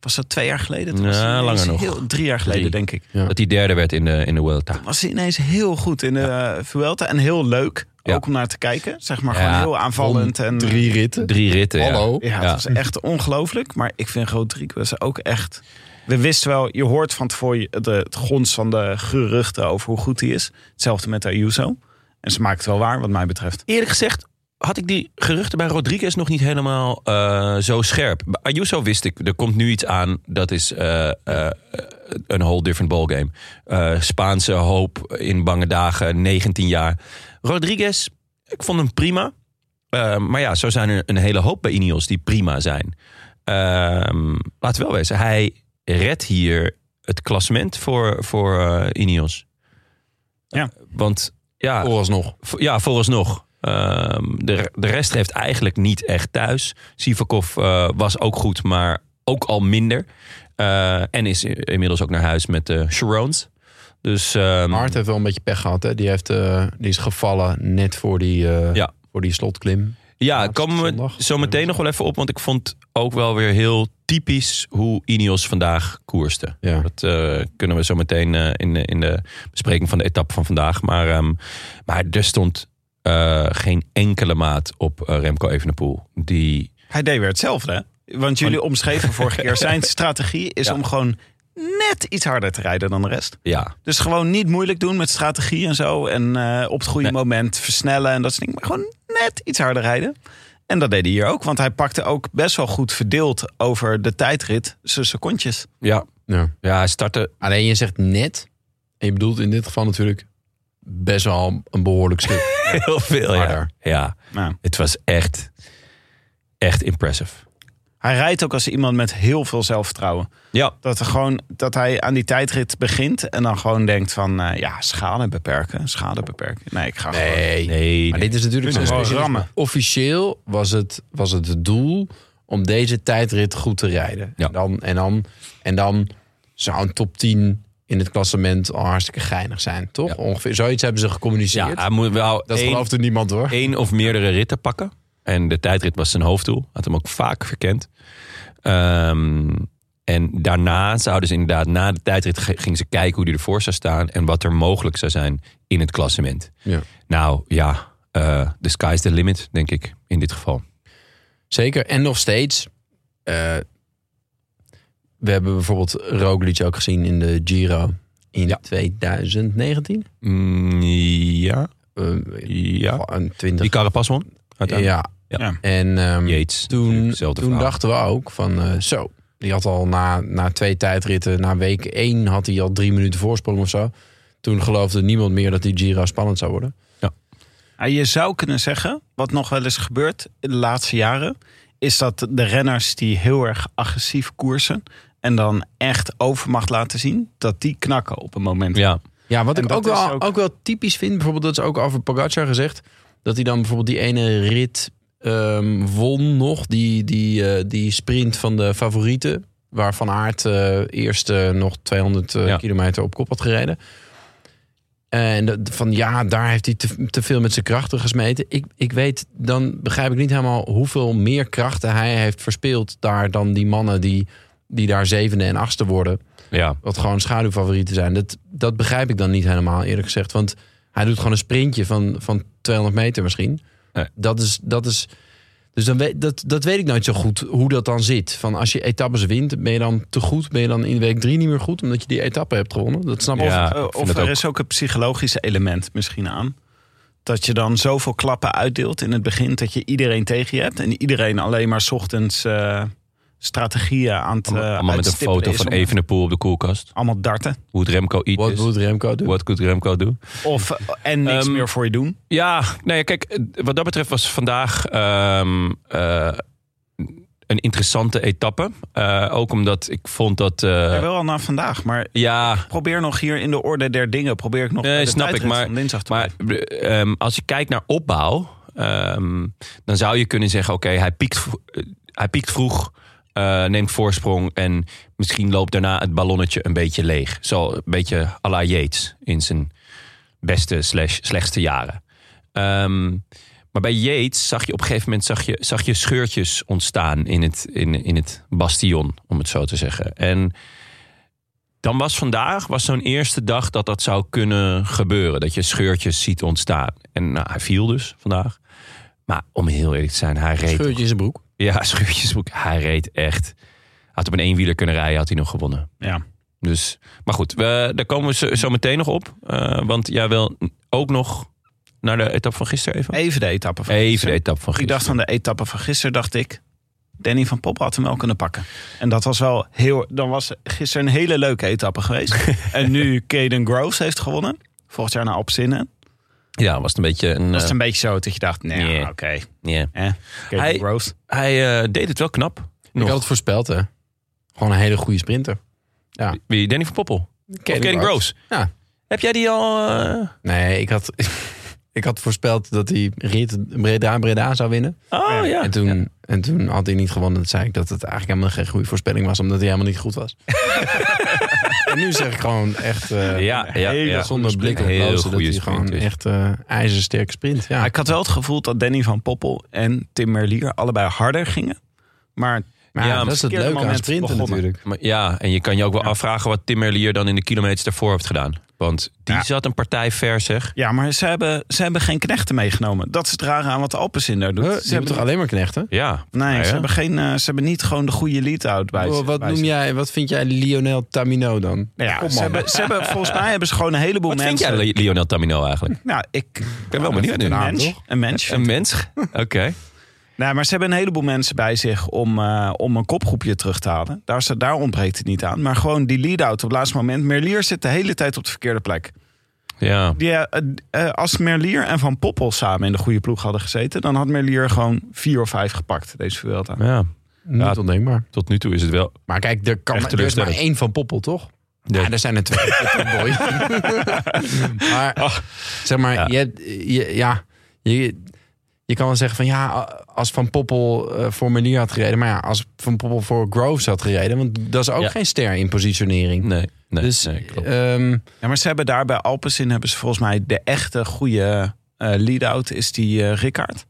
S3: Was dat twee jaar geleden? Toen was hij
S2: Nou,
S3: ineens
S2: langer nog.
S3: heel- drie jaar geleden,
S2: Drie.
S3: denk ik.
S1: Ja.
S2: Dat hij derde werd in de, in de World
S3: Was hij ineens heel goed in de eh, Vuelta en heel leuk.
S2: Ja.
S3: Ook om naar te kijken. Zeg maar
S2: Ja,
S3: gewoon heel aanvallend. En,
S4: Drie ritten.
S2: Drie ritten. ja.
S1: Hallo.
S3: Ja,
S2: Ja.
S3: het was echt ongelooflijk. Maar ik vind Rodriguez ook echt... We wisten wel, je hoort van tevoren je- de, het gons van de geruchten over hoe goed hij is. Hetzelfde met Ayuso. En ze maakt het wel waar, wat mij betreft.
S2: Eerlijk gezegd had ik die geruchten bij Rodriguez nog niet helemaal eh, zo scherp. Bij Ayuso wist ik, er komt nu iets aan. Dat is eh, eh, een whole different ballgame. Eh, Spaanse hoop in bange dagen, 19 jaar. Rodriguez, ik vond hem prima. Eh, maar ja, zo zijn er een hele hoop bij Ineos die prima zijn. Ehm laten we wel wezen, hij redt hier het klassement voor, voor eh, Ineos.
S3: Ja.
S2: Want ja, Mm.
S1: Vooralsnog.
S2: Vo- Ja, vooralsnog. Ehm de, de rest heeft eigenlijk niet echt thuis. Sivakov eh, was ook goed, maar ook al minder. Eh, en is i- inmiddels ook naar huis met de Sharons. Dus ehm,
S1: Mart heeft wel een beetje pech gehad. Hè? Die, heeft, eh, die is gevallen net voor die, eh,
S2: Ja.
S1: voor die slotklim.
S2: ja,
S1: laatste
S2: komen we
S1: zondag.
S2: zo meteen nog wel even op. Want ik vond ook wel weer heel typisch hoe Ineos vandaag koerste.
S1: Ja.
S2: Dat eh, kunnen we zo meteen eh, in, de- in de bespreking van de etappe van vandaag. Maar, ehm, maar er stond eh, geen enkele maat op eh, Remco Evenepoel. Die
S3: Hij deed weer hetzelfde, hè? Want jullie omschreven vorige keer. Zijn strategie is
S2: Ja.
S3: om gewoon net iets harder te rijden dan de rest.
S2: ja,
S3: Dus gewoon niet moeilijk doen met strategie en zo. En eh, op het goede
S2: Nee.
S3: moment versnellen en dat soort dingen. Maar gewoon net iets harder rijden. En dat deed hij hier ook. Want hij pakte ook best wel goed verdeeld over de tijdrit zijn secondjes.
S2: ja.
S1: Ja.
S2: Ja, hij startte.
S1: Alleen je zegt net. En je bedoelt in dit geval natuurlijk best wel een behoorlijk stuk.
S2: Heel veel, ja.
S1: Harder.
S2: ja.
S3: Nou,
S2: Het was echt, echt impressive.
S3: hij rijdt ook als iemand met heel veel zelfvertrouwen.
S2: Ja.
S3: Dat, er gewoon, dat hij aan die tijdrit begint en dan gewoon denkt van... eh, ja, schade beperken, schade beperken. Nee, ik ga gewoon...
S1: Nee.
S2: Nee,
S1: Maar dit is natuurlijk
S3: Kunnen
S1: zo'n
S3: we gewoon
S1: specialisme. Officieel was het, was het het doel om deze tijdrit goed te rijden.
S2: Ja.
S1: En, dan, en, dan, en dan zou een top 10 in het klassement al hartstikke geinig zijn, toch?
S2: Ja.
S1: Ongeveer zoiets hebben ze
S2: ja,
S1: gecommuniceerd.
S2: hij moet wel
S1: dat
S2: één,
S1: geloofde niemand hoor.
S2: één of meerdere ritten pakken. En de tijdrit was zijn hoofddoel. Had hem ook vaak verkend. Ehm, en daarna zouden ze inderdaad, na de tijdrit, ge- gingen ze kijken hoe die ervoor zou staan. En wat er mogelijk zou zijn in het klassement.
S1: Ja.
S2: Nou ja, eh the sky's the limit, denk ik in dit geval.
S1: Zeker. En nog steeds. eh, we hebben bijvoorbeeld Roglic ook gezien in de Giro in 2019.
S2: Mm, ja,
S1: Eh,
S2: ja.
S1: Een 20.
S2: Die Carapaz won. uiteindelijk.
S1: ja.
S2: Ja.
S1: En ehm,
S2: Yates.
S1: toen,
S2: natuurlijk, hetzelfde
S1: toen
S2: verhaal.
S1: dachten we ook van eh, zo. Die had al na, na twee tijdritten, na week één had hij al drie minuten voorsprong of zo. Toen geloofde niemand meer dat die Giro spannend zou worden.
S3: Ja, je zou kunnen zeggen, wat nog wel eens gebeurt in de laatste jaren, is dat de renners die heel erg agressief koersen en dan echt overmacht laten zien, dat die knakken op een moment.
S2: Ja,
S1: Ja, wat
S3: En
S1: ik
S3: dat
S1: ook
S3: is
S1: wel,
S3: ook-
S1: ook... wel typisch vind, bijvoorbeeld dat is ook over Pogacar gezegd, dat hij dan bijvoorbeeld die ene rit ehm, won nog, die, die, eh, die sprint van de favorieten, waar Van Aert eh, eerst eh, nog 200 eh,
S2: Ja.
S1: kilometer op kop had gereden. En dat- van ja, daar heeft hij te, te veel met zijn krachten gesmeten. Ik, ik weet, dan begrijp ik niet helemaal hoeveel meer krachten hij heeft verspeeld daar dan die mannen die, die daar zevende en achtste worden
S2: ja.
S1: wat gewoon schaduwfavorieten zijn. Dat, dat begrijp ik dan niet helemaal, eerlijk gezegd. Want hij doet gewoon een sprintje van, van 200 meter misschien.
S2: Nee.
S1: Dat is. Dat is dus dan weet, dat, dat weet ik nooit zo goed hoe dat dan zit. Van als je etappes wint, ben je dan te goed? Ben je dan in week drie niet meer goed omdat je die etappe hebt gewonnen? Dat snap ik.
S2: Ja.
S3: of eh,
S2: ik vind
S3: of
S2: dat
S3: er
S2: ook.
S3: is ook een psychologisch element misschien aan. Dat je dan zoveel klappen uitdeelt in het begin dat je iedereen tegen je hebt. En iedereen alleen maar 's ochtends eh, strategieën aan het
S2: Allemaal,
S3: eh,
S2: allemaal met een
S3: uitstippelen
S2: foto
S3: is
S2: van
S3: om-
S2: Evenepoel op de koelkast.
S3: Allemaal darten.
S2: Hoe het Remco eet
S1: Wat
S2: is.
S1: moet Remco doen?
S2: What could Remco doen?
S3: Of, eh, en niks
S2: Ehm,
S3: meer voor je doen.
S2: Ja, nou ja, kijk, eh, wat dat betreft was vandaag ehm, eh, een interessante etappe. Eh, ook omdat ik vond dat... eh,
S3: Ja, wel al na nou, vandaag, maar
S2: ja,
S3: probeer nog hier in de orde der dingen. Probeer ik nog
S2: Nee,
S3: bij de
S2: snap ik,
S3: tijdrit
S2: maar-
S3: van dinsdag te
S2: maar
S3: blijven.
S2: eh, ehm, als je kijkt naar opbouw... ehm, dan zou je kunnen zeggen, oké, hij, piekt, vro- eh, hij piekt vroeg... eh, neemt voorsprong en misschien loopt daarna het ballonnetje een beetje leeg. Zo een beetje à la Yates in zijn beste slash slechtste jaren. Ehm, maar bij Yates zag je op een gegeven moment zag je, zag je scheurtjes ontstaan in het, in, in het bastion, om het zo te zeggen. En dan was vandaag was zo'n eerste dag dat dat zou kunnen gebeuren. Dat je scheurtjes ziet ontstaan. En nou, hij viel dus vandaag. Maar om heel eerlijk te zijn, hij reed...
S1: Scheurtje in zijn broek.
S2: Ja, scheurtjesbroek. Hij reed echt. Had op een eenwieler kunnen rijden, had hij nog gewonnen.
S3: Ja.
S2: Dus, maar goed, we, daar komen we zo, zo meteen nog op. Eh, want jij wil ook nog naar de etappe van gisteren even?
S3: Even de etappe van
S2: Even de
S3: gisteren.
S2: etappe van
S3: Ik
S2: gisteren.
S3: dacht van de etappe van gisteren, dacht ik... Danny van Poppel had hem wel kunnen pakken. En dat was wel heel... Dan was gisteren een hele leuke etappe geweest. en nu Caden Groves heeft gewonnen. Volgend jaar naar Alpzinnen.
S2: Ja, was het een beetje een...
S3: Was
S2: eh,
S3: het een beetje zo dat je dacht, nee,
S2: Nee.
S3: oké.
S2: ja.
S3: eh, Caden
S2: Hij-
S3: Groves.
S2: Hij eh, deed het wel knap.
S1: Ik
S2: Nog.
S1: had het voorspeld, hè. Gewoon een hele goede sprinter.
S2: Wie? Danny van Poppel? Of Caden Groves?
S1: Ja.
S2: Heb jij die al... eh,
S1: Nee, ik had, ik had voorspeld dat hij rit Breda-Breda zou winnen.
S2: Oh ja.
S1: En toen, en toen had hij niet gewonnen. Toen zei ik dat het eigenlijk helemaal geen goede voorspelling was, omdat hij helemaal niet goed was. en nu zeg ik gewoon echt. eh,
S2: Ja, ja, ja.
S1: Zonder blik op
S2: Heel
S1: rozen, dat
S2: goede
S1: hij gewoon
S2: sprint is.
S1: echt eh ijzersterk sprint. Ja.
S3: Maar ik had wel het gevoel dat Danny van Poppel en Tim Merlier allebei harder gingen. Maar
S1: maar
S2: ja,
S1: ja, dat is het
S3: verkeerde
S1: leuke aan
S3: moment
S1: sprinten
S3: begonnen.
S1: natuurlijk.
S2: Maar ja, en je kan je ook wel afvragen wat Tim Merlier dan in de kilometers daarvoor heeft gedaan. Want die
S3: Ja.
S2: zat een partij ver, zeg.
S3: ja, maar ze hebben, ze hebben geen knechten meegenomen. Dat is het rare aan wat Alpenzinder doet.
S1: Huh,
S3: ze
S1: ze hebben toch alleen maar knechten?
S2: Ja.
S3: Nee,
S2: Nou ja. Oh,
S3: ze, hebben geen, eh, ze hebben niet gewoon de goede lead-out bij
S1: Wat-
S3: zich-
S1: Oh, wat,
S3: bij
S1: noem
S3: zich.
S1: jij, wat vind jij Lionel Tamino dan?
S3: Nou ja, ze hebben, ze hebben, volgens mij hebben ze gewoon een heleboel
S2: Wat vind
S3: mensen...
S2: jij Le- Lionel Tamino eigenlijk?
S3: Nou, ik
S2: ben wel benieuwd nu.
S3: Een
S2: Naam,
S3: mens.
S2: toch?
S3: Een mens.
S2: Een mens? Oké.
S3: Nou, maar ze hebben een heleboel mensen bij zich om, eh, om een kopgroepje terug te halen. Daar, is- daar ontbreekt het niet aan. Maar gewoon die lead-out op het laatste moment. Merlier zit de hele tijd op de verkeerde plek.
S2: Ja.
S3: Die, eh, eh, als Merlier en Van Poppel samen in de goede ploeg hadden gezeten... dan had Merlier gewoon vier of vijf gepakt, deze Vuelta.
S2: ja.
S1: Niet ondenkbaar.
S2: Tot nu toe is het wel
S1: Maar kijk, er, kan,
S2: Echt
S1: er is maar
S2: teleurstellend.
S1: één van Poppel, toch? Ja,
S2: Nee.
S1: er zijn er twee. Boy. maar zeg maar,
S2: Ah. Ja.
S1: Je, hebt- je, ja, je, je kan wel zeggen van ja, als Van Poppel eh, voor Melier had gereden. Maar ja, als Van Poppel voor Groves had gereden. Want dat is ook
S2: Ja.
S1: geen ster in positionering.
S2: Nee, nee,
S1: dus
S2: nee, klopt.
S1: ehm,
S3: Ja, maar ze hebben daar bij Alpecin hebben ze volgens mij de echte goede eh lead-out is die eh Ricard.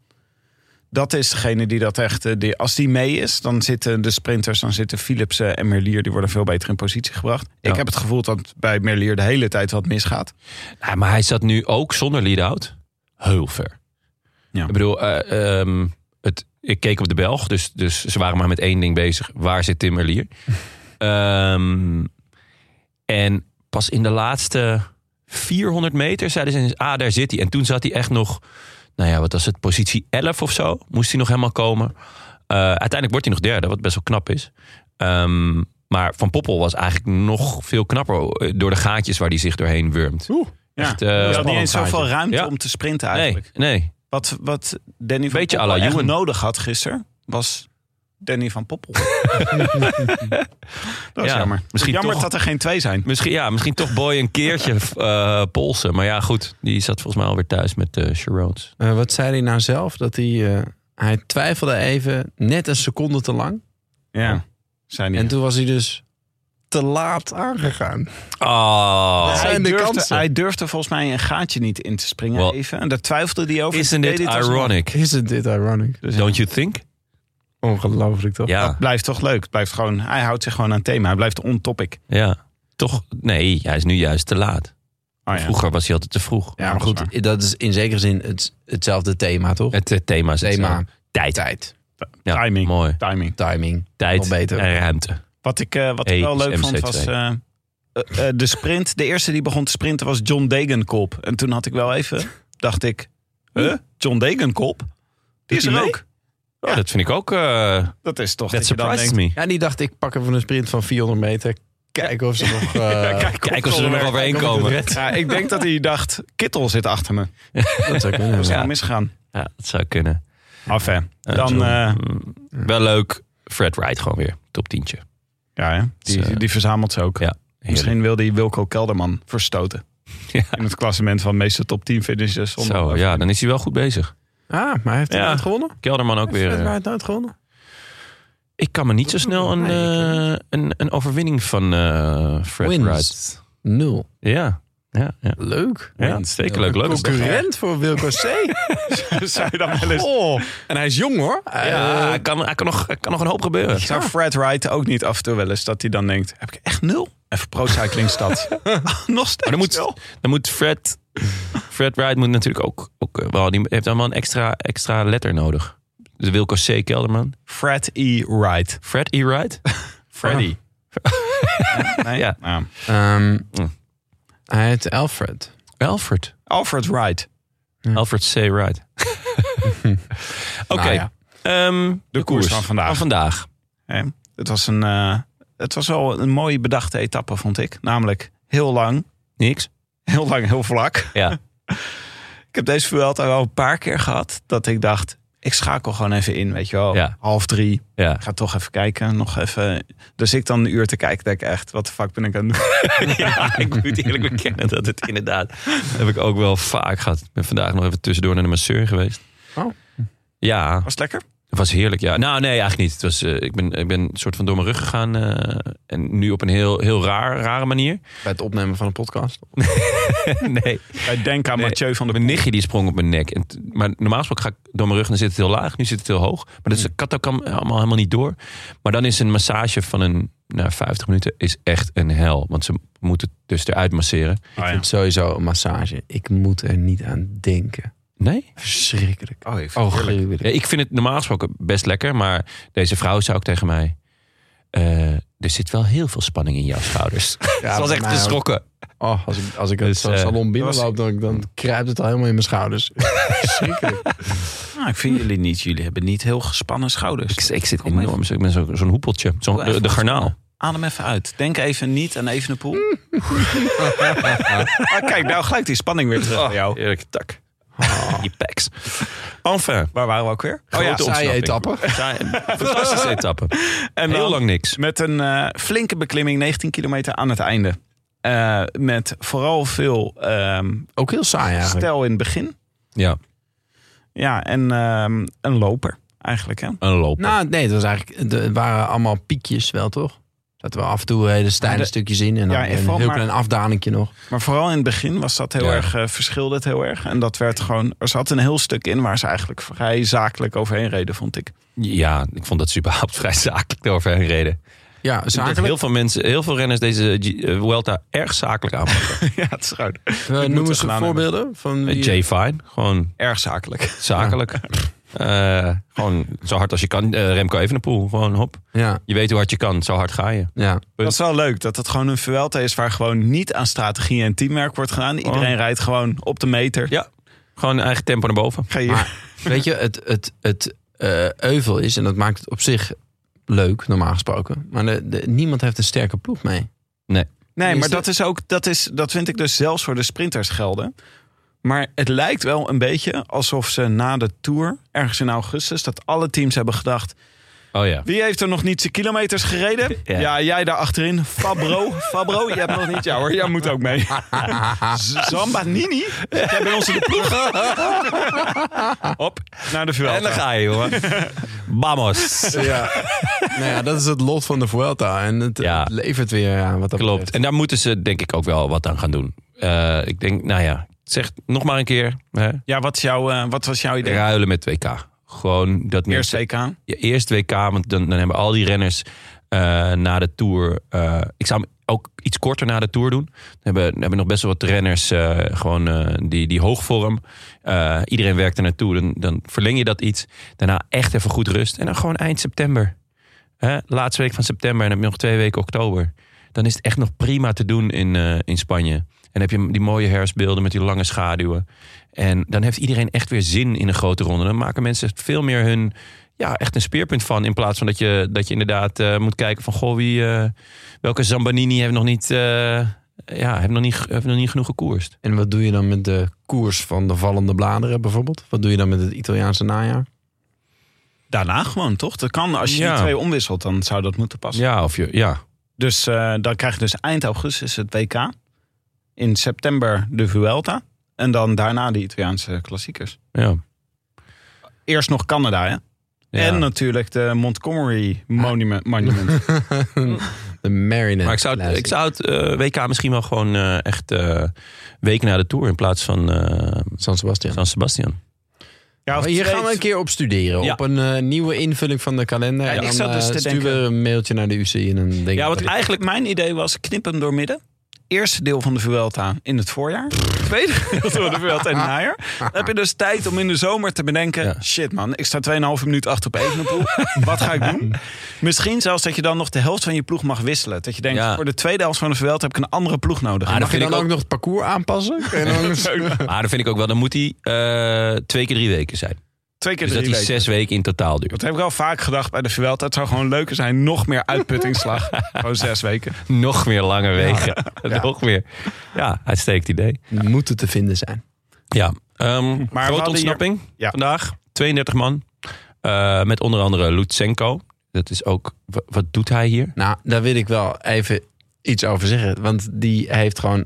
S3: Dat is degene die dat echt, eh, die, als die mee is, dan zitten de sprinters, dan zitten Philipsen en Merlier, die worden veel beter in positie gebracht.
S2: Ja.
S3: Ik heb het gevoel dat bij Merlier de hele tijd wat misgaat.
S2: Ja, maar hij zat nu ook zonder lead-out heel ver.
S3: Ja.
S2: Ik bedoel, eh, ehm, het, ik keek op de Belg, dus, dus ze waren maar met één ding bezig. Waar zit Tim Merlier? Ehm, en pas in de laatste 400 meter zeiden ze, ah, daar zit hij. En toen zat hij echt nog, nou ja, wat was het, positie 11 of zo? Moest hij nog helemaal komen. Eh, uiteindelijk wordt hij nog derde, wat best wel knap is. Ehm, maar Van Poppel was eigenlijk nog veel knapper eh, door de gaatjes waar hij zich doorheen wurmt.
S3: Ja.
S2: Echt, eh,
S3: er is niet eens
S1: spannend
S3: zoveel
S1: gaatje.
S3: ruimte
S2: Ja.
S3: om te sprinten eigenlijk.
S2: Nee, nee.
S3: Wat, wat Danny van
S2: Beetje à la
S3: Poppel echt
S2: Ewan.
S3: nodig had gisteren, was Danny van Poppel. dat is
S2: Ja,
S3: jammer.
S2: misschien
S3: jammer
S2: toch-
S3: dat er geen twee zijn.
S2: Misschien, ja, misschien toch Boy een keertje eh, polsen. Maar ja, goed. Die zat volgens mij alweer thuis met eh Sherrodes.
S1: eh, wat zei hij nou zelf? Dat hij, eh, hij twijfelde even net een seconde te lang.
S3: Ja, zijn die
S1: En toen was hij dus te laat aangegaan.
S2: Oh.
S1: Dat
S3: hij,
S1: zijn de
S3: durfde,
S1: kansen.
S3: hij durfde volgens mij een gaatje niet in te springen
S2: Wel,
S3: even. En daar twijfelde hij over.
S2: Isn't it
S3: Deed hij het alsnog.
S2: ironic?
S1: Isn't dit ironic?
S2: Don't you think?
S1: Ongelooflijk toch?
S3: Dat
S2: Ja,
S3: blijft toch leuk. Het Blijft gewoon, hij houdt zich gewoon aan het thema. Hij blijft on topic.
S2: ja. Toch? Nee, hij is nu juist te laat.
S3: Oh, ja.
S2: Vroeger was hij altijd te vroeg.
S1: Ja, maar goed, dat is in zekere zin het, hetzelfde thema, toch?
S2: Het eh, thema is
S1: Thema.
S2: hetzelfde. Tijd.
S1: Tijd,
S2: Ja,
S3: Timing.
S2: Mooi.
S3: Timing.
S1: timing.
S2: Tijd
S1: Nog beter.
S2: en ruimte.
S3: Wat ik, eh, wat ik
S2: E
S3: wel
S2: is
S3: leuk vond
S2: MC2.
S3: was eh, eh, eh, de sprint. De eerste die begon te sprinten was John Degenkolb. En toen had ik wel even, dacht ik, huh? John Degenkolb? Die is
S2: Hm? hij
S3: er
S2: mee?
S3: ook.
S2: Oh,
S3: Ja.
S2: Dat vind ik ook... eh
S3: Dat is toch
S2: that
S3: dat je dan
S2: surprises
S3: denkt,
S2: me.
S1: Ja, die dacht ik pak even een sprint van 400 meter. Kijken of ze nog... eh,
S2: Kijk of ze er nog overheen komen.
S3: Ja, ik denk dat hij dacht, Kittel zit achter me.
S1: dat zou kunnen,
S3: Dat is
S1: ja.
S3: gewoon misgegaan.
S2: Ja, dat zou kunnen.
S3: Af hè. Dan,
S2: John.
S3: eh,
S2: Mm, Wel leuk. Fred Wright gewoon weer. Top tientje.
S3: Ja, hè? Die,
S2: Dus, eh,
S3: die verzamelt ze ook.
S2: ja,
S3: Misschien wilde hij Wilco Kelderman verstoten.
S2: Ja.
S3: In het klassement van meeste top 10 finishes. zonder-
S2: Zo, ja, dan is hij wel goed bezig.
S1: Ah, maar hij heeft
S2: Ja.
S1: het nooit gewonnen?
S2: Kelderman ook weer.
S1: Hij
S2: eh,
S1: heeft nooit gewonnen.
S2: Ik kan me niet zo snel een,
S1: Nee, ik
S2: eh, een, een overwinning van eh Fred Wright.
S1: Wins. Nul.
S2: Ja. ja, ja.
S1: Leuk.
S2: Ja, hartstikke leuk. Leuk.
S1: Concurrent voor Wilco C.
S3: Zou je dan wel eens...
S1: Oh, en hij is jong hoor.
S2: Ja,
S1: Eh,
S2: hij kan, hij kan, nog, hij kan nog een hoop gebeuren.
S3: Zou Fred Wright ook niet af en toe wel eens dat hij dan denkt... Heb ik echt nul? Even pro-cyclingstad. Nog
S2: Maar
S3: steeds
S2: dan moet,
S3: nul.
S2: dan moet Fred... Fred Wright moet natuurlijk ook... ook eh, wel, die heeft dan wel een extra, extra letter nodig. De Wilco C. Kelderman.
S3: Fred E. Wright.
S2: Fred E. Wright? Freddy.
S3: Nee?
S2: Ja.
S3: Nou,
S1: ehm,
S2: Hm.
S1: hij heet Alfred.
S2: Ah, Alfred.
S3: Alfred Wright.
S2: Alfred C. Wright. Oké.
S1: Nou ja.
S2: ehm, de,
S3: koers van vandaag.
S2: Van vandaag.
S3: Hè? Het, was een, eh, het was wel een mooie bedachte etappe, vond ik. Namelijk heel lang,
S2: Niks.
S3: heel lang, heel vlak.
S2: Ja.
S3: Ik heb deze Vuelta wel een paar keer gehad dat ik dacht... Ik schakel gewoon even in, weet je wel.
S2: Ja.
S3: Half drie,
S2: ja.
S3: Ik ga toch even kijken, nog even. Dus ik dan een uur te kijken, denk ik echt, wat de fuck ben ik aan het doen?
S2: ja, ik moet eerlijk bekennen dat het inderdaad... heb ik ook wel vaak gehad. Ik ben vandaag nog even tussendoor naar de masseur geweest.
S1: Oh.
S2: Ja.
S3: Was het lekker?
S2: Het was heerlijk, ja. Nou, nee, eigenlijk niet. Het was, eh, ik, ben, ik ben een soort van door mijn rug gegaan. eh, en nu op een heel, heel raar, rare manier.
S1: Bij het opnemen van een podcast.
S2: nee.
S3: Ik denk aan
S2: Nee,
S3: Mathieu van der
S2: Mijn nichtje die sprong op mijn nek. En t- maar normaal gesproken ga ik door mijn rug en dan zit het heel laag. Nu zit het heel hoog. Maar dat is, ik had ook am- allemaal helemaal niet door. Maar dan is een massage van een nou, 50 minuten is echt een hel. Want ze moeten het dus eruit masseren.
S3: Oh ja.
S1: Sowieso een massage. Ik moet er niet aan denken.
S2: Nee?
S1: Verschrikkelijk.
S3: Oh,
S1: Oh, gruwelijk.
S2: Ja, ik vind het normaal gesproken best lekker. Maar deze vrouw zei ook tegen mij... eh, er zit wel heel veel spanning in jouw schouders.
S1: Ja,
S2: Ze was echt
S1: maar-
S2: geschrokken.
S1: Oh, als ik, als ik
S2: Dus,
S1: het zo'n
S2: eh,
S1: salon binnenloop,
S3: was-
S1: dan, dan kruipt het al helemaal in mijn schouders. Verschrikkelijk.
S3: Nou, ik vind jullie niet. Jullie hebben niet heel gespannen schouders.
S2: Oh. Ik, ik zit
S3: Kom
S2: enorm. Ik ben zo- zo'n hoepeltje. Zo'n-
S3: Doe
S2: de,
S3: even
S2: de
S3: wat
S2: garnaal.
S3: Adem even uit. Denk even niet aan even een poel.
S2: Mm.
S3: ah, kijk, nou gelijk die spanning weer
S2: Oh.
S3: terug bij jou.
S2: Eerlijk, tak.
S1: Oh.
S2: Die packs. Enfin.
S3: Waar waren we ook weer?
S2: Oh ja,
S1: Grote
S2: ontsnapping.
S1: etappe.
S2: Saai- Fantastische etappe.
S1: Nou.
S3: En
S2: Heel
S3: dan-
S2: lang niks.
S3: Met een eh, flinke beklimming, 19 kilometer aan het einde. Eh, met vooral veel ehm,
S1: Ook heel saai eigenlijk.
S3: stel in het begin.
S2: Ja,
S3: Ja, en ehm, een loper eigenlijk. Hè?
S2: een loop.
S1: Nou, nee, het, was eigenlijk, het waren allemaal piekjes wel, toch? Dat we af en toe hele steile
S3: Ja, de-
S1: stukjes in en dan
S3: Ja, en
S1: een
S3: vooral
S1: heel
S3: maar-
S1: klein afdalingje nog.
S3: Maar vooral in het begin was dat heel
S2: Ja.
S3: erg, eh, verschilde het heel erg. En dat werd gewoon, er zat een heel stuk in waar ze eigenlijk vrij zakelijk overheen reden, vond ik.
S2: Ja, ik vond dat ze überhaupt vrij zakelijk eroverheen reden.
S1: Ja,
S2: Dat
S1: zakelijk.
S2: heel veel mensen, heel veel renners deze G- eh, Vuelta erg zakelijk aanpakken.
S3: ja, het is gewoon
S1: We
S3: moeten
S1: noemen
S3: we
S1: ze
S3: gedaan
S1: eh, voorbeelden van
S2: Eh,
S1: wie...
S2: Jay Fine, gewoon
S3: erg zakelijk.
S2: zakelijk. Eh, gewoon zo hard als je kan. Eh, Remco Evenepoel, gewoon hop.
S1: Ja,
S2: Je weet hoe hard je kan, zo hard ga je.
S1: ja.
S3: Dat is wel leuk, dat het gewoon een Vuelta is waar gewoon niet aan strategie en teamwerk wordt gedaan. Iedereen rijdt gewoon op de meter.
S2: Ja. Gewoon eigen tempo naar boven.
S3: Ga je
S1: Maar weet je, het, het, het eh, euvel is, en dat maakt het op zich leuk, normaal gesproken. Maar de, de- niemand heeft een sterke ploeg mee.
S3: Nee,
S1: Is
S3: maar
S1: dat-
S3: dat is ook, dat, is, dat vind ik dus zelfs voor de sprinters gelden. Maar het lijkt wel een beetje alsof ze na de Tour, ergens in augustus, dat alle teams hebben gedacht...
S2: Oh ja.
S3: Wie heeft er nog niet zijn kilometers gereden?
S2: Ja.
S3: Ja, jij daar achterin. Fabro, Fabro, je hebt nog niet. Ja hoor, jij moet ook mee. Z- Zamba Nini, jij bent onze de ploeg. Op, naar de Vuelta.
S2: En dan ga je, jongen. Vamos.
S1: Ja. nou ja, dat is het lot van de Vuelta. En het,
S2: Ja.
S1: het levert weer aan wat dat
S2: Klopt.
S1: betreft.
S2: En daar moeten ze denk ik ook wel wat aan gaan doen. Eh, ik denk, nou ja, zeg nog maar een keer. Hè,
S3: Ja, wat, is jouw, eh, wat was jouw idee?
S2: ruilen met WK. Gewoon dat
S3: Eerst
S2: mensen-
S3: WK.
S2: Ja, eerst WK, want dan, dan hebben al die renners eh, na de Tour... eh, ik zou hem ook iets korter na de Tour doen. Dan hebben, dan hebben nog best wel wat renners eh, gewoon eh, die, die hoogvorm. Eh, iedereen werkt er naartoe, dan, dan verleng je dat iets. Daarna echt even goed rust. En dan gewoon eind september. Hè, laatste week van september en dan heb je nog twee weken oktober. Dan is het echt nog prima te doen in, eh, in Spanje. En dan heb je die mooie herfstbeelden met die lange schaduwen. En dan heeft iedereen echt weer zin in een grote ronde. Dan maken mensen veel meer hun, ja, echt een speerpunt van. In plaats van dat je, dat je inderdaad eh, moet kijken van, goh, wie, eh, welke Zambanini heeft nog niet, eh, ja, heeft nog niet, heeft nog niet genoeg gekoerst.
S1: En wat doe je dan met de koers van de vallende bladeren bijvoorbeeld? Wat doe je dan met het Italiaanse najaar?
S3: Daarna gewoon, toch? Dat kan, als je
S2: Ja.
S3: die twee omwisselt, dan zou dat moeten passen.
S2: Ja, of je, ja.
S3: Dus eh, dan krijg je dus eind augustus het WK. In september de Vuelta. En dan daarna de Italiaanse klassiekers.
S2: ja,
S3: Eerst nog Canada, hè?
S2: ja.
S3: En natuurlijk de Montgomery Monument. monument.
S1: De Mariner.
S2: Maar ik zou het, ik zou het eh, WK misschien wel gewoon eh, echt eh week na de Tour in plaats van eh,
S1: San Sebastian.
S2: San Sebastian.
S3: Ja, of
S1: Maar Hier
S3: twee-
S1: gaan we een keer op studeren.
S2: Ja.
S1: Op een eh, nieuwe invulling van de kalender.
S3: Ja,
S1: en
S3: ik
S1: dan
S3: zat dus
S1: eh,
S3: te
S1: sturen we
S3: denken-
S1: een mailtje naar de UCI. En dan denk ik
S3: Ja,
S1: dat
S3: want
S1: dit-
S3: eigenlijk mijn idee was knip hem door midden. Eerste deel van de Vuelta in het voorjaar. Tweede deel van de Vuelta in het najaar. Dan heb je dus tijd om in de zomer te bedenken...
S1: Ja.
S3: shit man, ik sta 2,5 minuut achter op Evenepoel. Wat ga ik doen? Misschien zelfs dat je dan nog de helft van je ploeg mag wisselen. Dat je denkt,
S2: Ja.
S3: voor de tweede helft van de Vuelta heb ik een andere ploeg nodig.
S1: Ah,
S3: En
S1: mag je
S2: vind ik
S1: dan ook
S2: ook-
S1: nog het parcours aanpassen? En dan-
S2: Maar dan vind ik ook wel, dan moet hij eh, twee keer drie weken zijn.
S3: twee keer
S2: Dus dat
S3: drie
S2: hij
S3: weken.
S2: zes weken in totaal duurt.
S3: Dat heb ik al vaak gedacht bij de Vuelta. Het zou gewoon leuker zijn, nog meer uitputtingsslag. gewoon zes weken.
S2: Nog meer lange wegen. Nog meer. Ja, uitstekend idee.
S1: Moeten te vinden zijn.
S2: Ja. ehm
S3: Maar we
S2: grote
S3: hadden
S2: ontsnapping
S3: Ja.
S2: vandaag. 32 man. Eh, met onder andere Lutsenko. Dat is ook... wa- Wat doet hij hier?
S1: Nou, daar wil ik wel even iets over zeggen. Want die heeft gewoon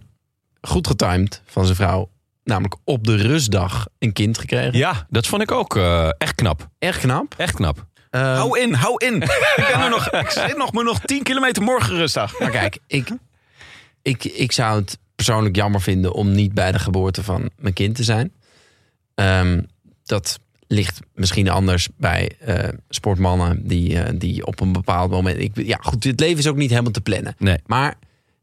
S1: goed getimed van zijn vrouw. Namelijk op de rustdag een kind gekregen.
S2: Ja, dat vond ik ook eh, echt knap.
S1: Echt knap.
S2: Echt knap.
S1: Eh,
S3: Hou in, hou in. ik, ben er nog, ik zit nog, moet nog 10 kilometer morgen rustdag.
S1: Maar kijk, ik, ik, ik zou het persoonlijk jammer vinden om niet bij de geboorte van mijn kind te zijn. Ehm, dat ligt misschien anders bij eh, sportmannen die, eh, die op een bepaald moment. Ik, ja, goed, het leven is ook niet helemaal te plannen.
S2: Nee.
S1: Maar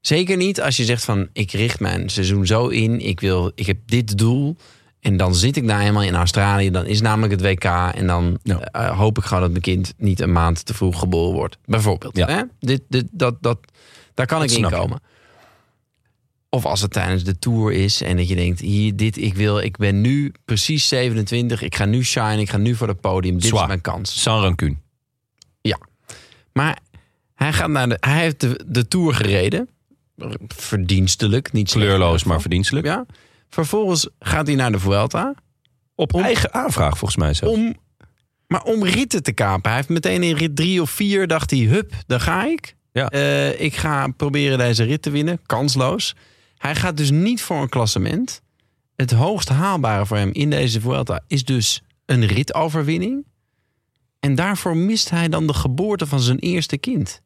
S1: zeker niet als je zegt van ik richt mijn seizoen zo in, ik, wil, ik heb dit doel. En dan zit ik daar helemaal in Australië. Dan is namelijk het WK. En dan
S2: Ja.
S1: eh, hoop ik gewoon dat mijn kind niet een maand te vroeg geboren wordt. Bijvoorbeeld.
S2: Ja.
S1: Hè? Dit, dit, dat, dat, daar kan
S2: Dat
S1: ik in
S2: snap ik.
S1: komen. Of als het tijdens de tour is en dat je denkt: hier, dit, ik wil, ik ben nu precies 27, ik ga nu shine, ik ga nu voor het podium, dit
S2: Zwaar.
S1: is mijn kans.
S2: San Rancune.
S1: Maar hij, gaat naar de, hij heeft de, de tour gereden, verdienstelijk, niet slecht.
S2: Kleurloos, maar verdienstelijk.
S1: Ja. Vervolgens gaat hij naar de Vuelta.
S2: Op eigen aanvraag volgens mij zo.
S1: om, maar om ritten te kapen. Hij heeft meteen in rit drie of vier dacht hij, hup, daar ga ik.
S2: Ja.
S1: Eh, ik ga proberen deze rit te winnen. Kansloos. Hij gaat dus niet voor een klassement. Het hoogst haalbare voor hem in deze Vuelta is dus een ritoverwinning. En daarvoor mist hij dan de geboorte van zijn eerste kind.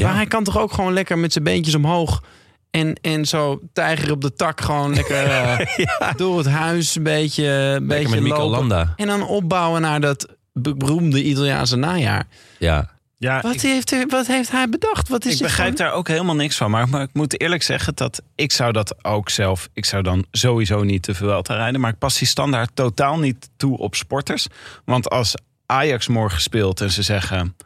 S1: Maar hij kan toch ook gewoon lekker met zijn beentjes omhoog... En, en zo tijger op de tak gewoon lekker eh, door het huis een beetje, een beetje
S2: Lekker met Mikel
S1: lopen.
S2: Landa.
S1: En dan opbouwen naar dat be- beroemde Italiaanse najaar.
S2: Ja.
S3: Ja,
S1: Wat, heeft, hij- wat heeft hij bedacht? Wat is
S3: ik
S1: dit
S3: begrijp
S1: voor-
S3: daar ook helemaal niks van. Maar, maar ik moet eerlijk zeggen dat ik zou dat ook zelf... Ik zou dan sowieso niet te veel te rijden. Maar ik pas die standaard totaal niet toe op sporters. Want als Ajax morgen speelt en ze zeggen...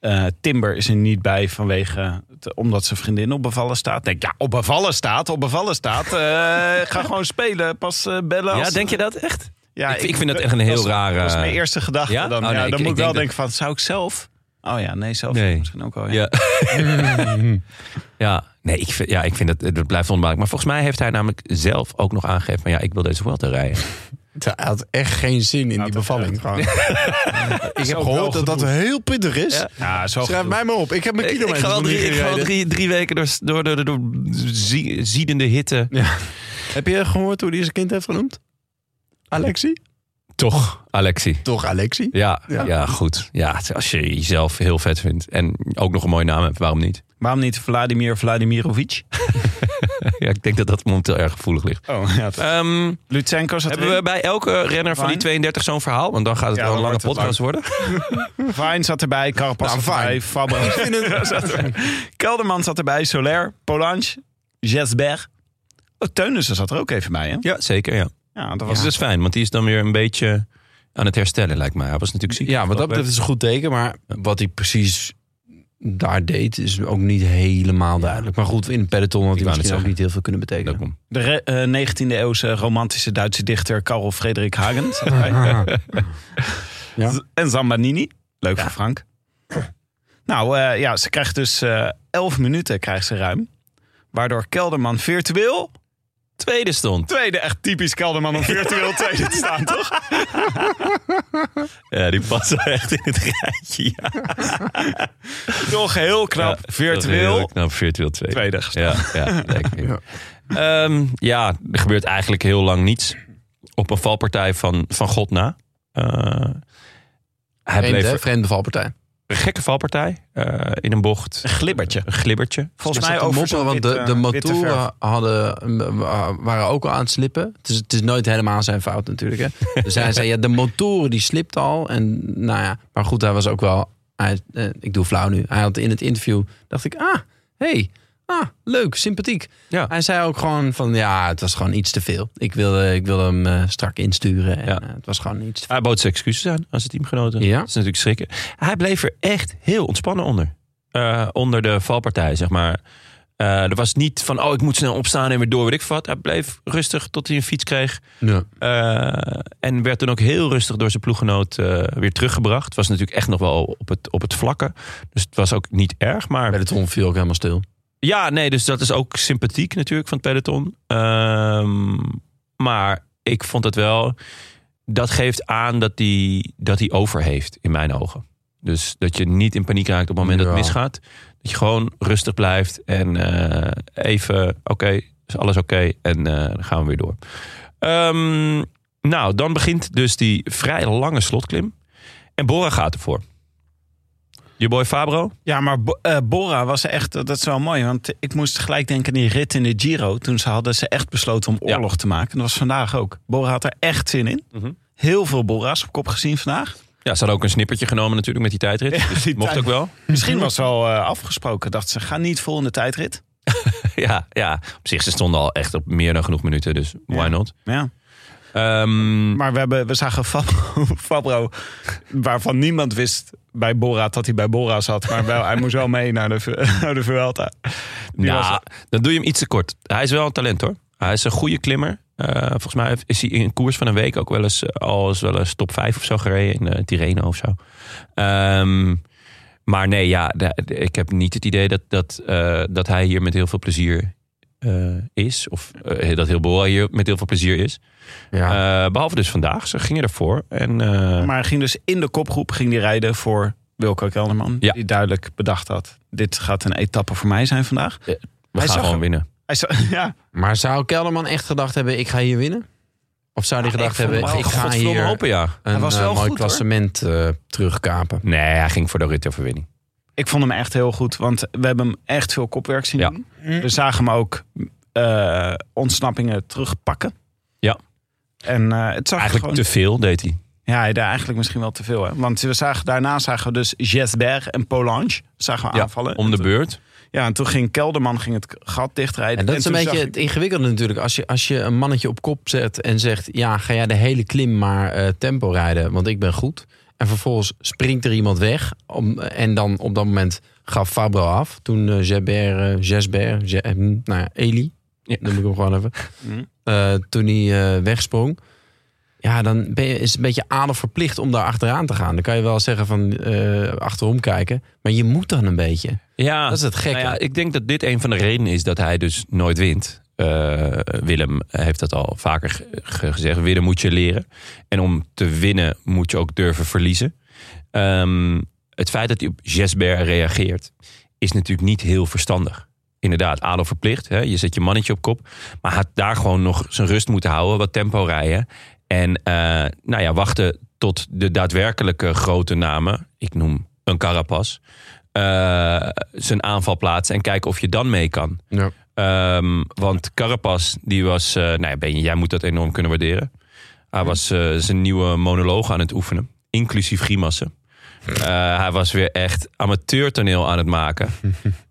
S3: eh, Timber is er niet bij vanwege... het- omdat zijn vriendin op bevallen staat. Denk ik, ja, op bevallen staat, op bevallen staat. Eh, ga gewoon spelen, pas eh, bellen.
S2: ja,
S3: als-
S2: denk je dat echt?
S3: Ja,
S2: Ik- ik vind dat echt een heel
S3: was-
S2: rare-
S3: Dat is mijn eerste gedachte.
S2: Ja?
S3: Dan,
S2: Oh,
S3: ja,
S2: nee,
S3: dan
S2: ik-
S3: moet
S2: ik
S3: ik, wel
S2: denk dat-
S3: denken van, zou ik zelf... Oh ja, nee, zelf
S2: Nee.
S3: misschien ook al. Ja.
S2: Ja. ja. Nee, ik vind, ja, ik vind dat, dat blijft onbelangrijk. Maar volgens mij heeft hij namelijk zelf ook nog aangegeven... van ja, ik wil deze Vuelta rijden.
S1: Hij had echt geen zin in die bevalling. ik heb gehoord dat dat heel pittig is.
S3: Ja, zo
S1: Schrijf mij maar op. Ik heb mijn
S2: Ik, ik
S1: kilometers
S2: ga wel
S1: nog
S2: drie,
S1: niet
S2: ik ga wel
S1: gereden.
S2: drie, drie weken door, door, door, door, zie- ziedende hitte.
S1: Heb je gehoord hoe hij zijn kind heeft genoemd? Alexi?
S2: Toch, Alexi.
S1: Toch Alexi?
S2: Ja, ja. goed. Ja, als je jezelf heel vet vindt en ook nog een mooie naam hebt, waarom niet?
S3: Waarom niet Vladimir Vladimirovic?
S2: Ja, ik denk dat dat momenteel erg gevoelig ligt.
S3: Oh, ja.
S2: Ehm,
S3: Lutsenko zat
S2: hebben we bij elke renner van die
S3: Fine.
S2: 32 zo'n verhaal? Want dan gaat het
S3: Ja,
S2: wel een
S3: dan
S2: lange podcast
S3: wordt het
S2: worden.
S3: erbij. Vine zat erbij. Carapaz
S1: Nou,
S3: zat erbij. Fabra zat erbij. Kelderman zat erbij. Soler. Polansch. Jesberg. Oh, Teunissen zat er ook even bij, hè?
S2: Ja, zeker. Ja.
S3: Ja, dat
S2: Dat
S3: was
S2: is dus fijn, want die is dan weer een beetje aan het herstellen, lijkt mij. Hij was natuurlijk ziek.
S1: Ja, want dat, dat is een goed teken. Maar wat hij precies daar deed is ook niet helemaal duidelijk. Maar goed, in het peloton had
S2: Ik
S1: hij
S2: wou net
S1: misschien ook
S2: zeggen.
S1: niet heel veel kunnen betekenen.
S2: Daarom.
S3: de re- eh, 19e-eeuwse romantische Duitse dichter Karel Frederik Hagen. zat erbij.
S1: Ja.
S3: Z- En Zambanini. Leuk voor Frank. Nou eh, ja, ze krijgt dus eh 11 minuten krijgt ze ruim. Waardoor Kelderman virtueel
S2: Tweede stond.
S3: tweede, echt typisch Kelderman om virtueel tweede te staan, toch?
S2: Ja, die past wel echt in het rijtje. Ja.
S3: Toch heel knap,
S2: Ja,
S3: virtueel.
S2: heel knap, nou virtueel tweede.
S3: Tweede.
S2: Ja, ja, denk ik. Ehm, ja, er gebeurt eigenlijk heel lang niets. Op een valpartij van, van God na. Eh, hij
S1: Vreemd,
S2: bleef
S1: hè? Vreemde valpartij.
S2: Een gekke valpartij eh, in een bocht.
S3: Een glibbertje.
S2: Een glibbertje.
S3: Volgens
S1: Is
S3: mij
S1: dat te
S3: over
S1: mopperen, want
S3: zo'n
S1: Dus de, de
S3: witte- witte verf.
S1: motoren hadden, eh, wa- waren ook al aan het slippen. Het is, het is nooit helemaal zijn fout natuurlijk. Hè. Dus hij zei, ja, de motoren die slipten al. En, nou ja, maar goed, hij was ook wel... Hij, eh, ik doe flauw nu. Hij had in het interview, dacht ik, ah, hey, ah, leuk, sympathiek.
S2: Ja.
S1: Hij zei ook gewoon van, ja, het was gewoon iets te veel. Ik wilde, ik wilde hem eh, strak insturen. En,
S2: Ja.
S1: eh, het was gewoon iets te
S2: Hij bood zijn excuses aan aan zijn teamgenoten.
S1: Ja.
S2: Dat is natuurlijk schrikken. Hij bleef er echt heel ontspannen onder. Eh, onder de valpartij, zeg maar. Eh, er was niet van, oh, ik moet snel opstaan en weer door, weet ik wat. Hij bleef rustig tot hij een fiets kreeg.
S1: Ja.
S2: Eh, en werd toen ook heel rustig door zijn ploeggenoot eh, weer teruggebracht. Het was natuurlijk echt nog wel op het, op het vlakke. Dus het was ook niet erg. Maar
S1: Bij de tron viel ook helemaal stil.
S2: ja, nee, dus dat is ook sympathiek natuurlijk van het peloton. Ehm, maar ik vond dat wel... Dat geeft aan dat hij dat die over heeft, in mijn ogen. Dus dat je niet in paniek raakt op het moment dat het
S1: Ja.
S2: misgaat. Dat je gewoon rustig blijft en eh, even... Oké, is alles oké? en eh, dan gaan we weer door. Ehm, nou, dan begint dus die vrij lange slotklim. En Bora gaat ervoor. Je boy Fabro?
S3: Ja, maar Bo- eh, Bora was echt, dat is wel mooi. Want ik moest gelijk denken aan die rit in de Giro. Toen ze hadden ze echt besloten om
S2: Ja.
S3: oorlog te maken. En dat was vandaag ook. Bora had er echt zin in.
S2: Mhm.
S3: Heel veel Bora's op kop gezien vandaag.
S2: Ja, ze hadden ook een snippertje genomen natuurlijk met die tijdrit.
S3: Ja,
S2: dus
S3: die
S2: mocht
S3: tijd-
S2: ook wel.
S3: Misschien was het wel eh, afgesproken. Dacht ze, ga niet vol in de tijdrit.
S2: ja, ja, op zich, ze stonden al echt op meer dan genoeg minuten. Dus why
S3: Ja.
S2: not?
S3: Ja.
S2: Ehm,
S3: Maar we, hebben, we zagen Fabro, Fabro, waarvan niemand wist bij Bora dat hij bij Bora zat. Maar wel, hij moest wel mee naar de, Vu- naar de Vuelta. Die
S2: nou,
S3: was-
S2: dan doe je hem iets te kort. Hij is wel een talent hoor. Hij is een goede klimmer. Eh, volgens mij heeft- is hij in een koers van een week ook wel eens, eh, al eens, wel eens top 5 of zo gereden. In eh, Tirreno of zo. Ehm, maar nee, ja, de- de- ik heb niet het idee dat, dat, eh, dat hij hier met heel veel plezier eh, is. Of eh, dat heel Bora hier met heel veel plezier is.
S1: Ja.
S2: Eh, behalve dus vandaag. Ze gingen ervoor. En, eh,
S3: Maar hij ging dus in de kopgroep ging die rijden voor Wilco Kelderman.
S2: Ja.
S3: Die duidelijk bedacht had, dit gaat een etappe voor mij zijn vandaag.
S2: we
S3: hij
S2: gaan
S3: zag
S2: gewoon
S3: hem.
S2: winnen.
S3: Hij zo, ja,
S1: Maar zou Kelderman echt gedacht hebben, ik ga hier winnen? Of zou hij
S3: Ja,
S1: gedacht
S3: ik vond
S1: hebben,
S3: hem wel
S1: ik ga
S2: Godverdomme
S1: hier
S2: hopen, ja.
S1: een
S3: was
S1: eh,
S3: wel
S1: mooi
S3: goed,
S1: klassement eh, terugkapen?
S2: Nee, hij ging voor de ritoverwinning.
S3: ik vond hem echt heel goed, want we hebben hem echt veel kopwerk zien
S2: Ja.
S3: doen. We zagen hem ook eh, ontsnappingen terugpakken.
S2: Ja.
S3: En eh, het zag er
S2: Eigenlijk
S3: gewoon...
S2: te veel deed hij.
S3: Ja, hij deed eigenlijk misschien wel te veel. Hè? Want we zagen, daarna zagen we dus Jesberg en Polange zagen we
S2: Ja,
S3: aanvallen.
S2: Om de beurt.
S3: Ja, en toen ging Kelderman ging het gat dichtrijden.
S1: En dat is een
S3: toen
S1: beetje
S3: zag
S1: het ingewikkelde natuurlijk. Als je, als je een mannetje op kop zet en zegt... ja, ga jij de hele klim maar eh, tempo rijden, want ik ben goed. En vervolgens springt er iemand weg. Om, en dan op dat moment gaf Fabro af. Toen eh Jesper, eh, Jesper, Je- eh, nou ja, Eli,
S2: Ja.
S1: noem ik hem gewoon even.
S3: Mhm.
S1: Eh, toen hij eh, wegsprong. Ja, dan ben je, is het een beetje adelverplicht om daar achteraan te gaan. Dan kan je wel zeggen van eh, achterom kijken. Maar je moet dan een beetje.
S2: Ja,
S1: Dat is het gekke.
S2: Ah. nou ja, ik denk dat dit een van de redenen is dat hij dus nooit wint. Eh, Willem heeft dat al vaker ge- ge- gezegd. Winnen moet je leren. En om te winnen moet je ook durven verliezen. Ehm, het feit dat hij op Jesper reageert is natuurlijk niet heel verstandig. Inderdaad, adel verplicht. Hè? Je zet je mannetje op kop. Maar hij had daar gewoon nog zijn rust moeten houden. Wat tempo rijden. En eh, nou ja, wachten tot de daadwerkelijke grote namen. Ik noem een Carapas. eh, zijn aanval plaatsen. En kijken of je dan mee kan.
S1: Ja.
S2: Ehm, want Carapas, die was... eh nou ja, Benje, jij moet dat enorm kunnen waarderen. Hij was eh, zijn nieuwe monoloog aan het oefenen. Inclusief grimassen. Eh, hij was weer echt amateurtoneel aan het maken.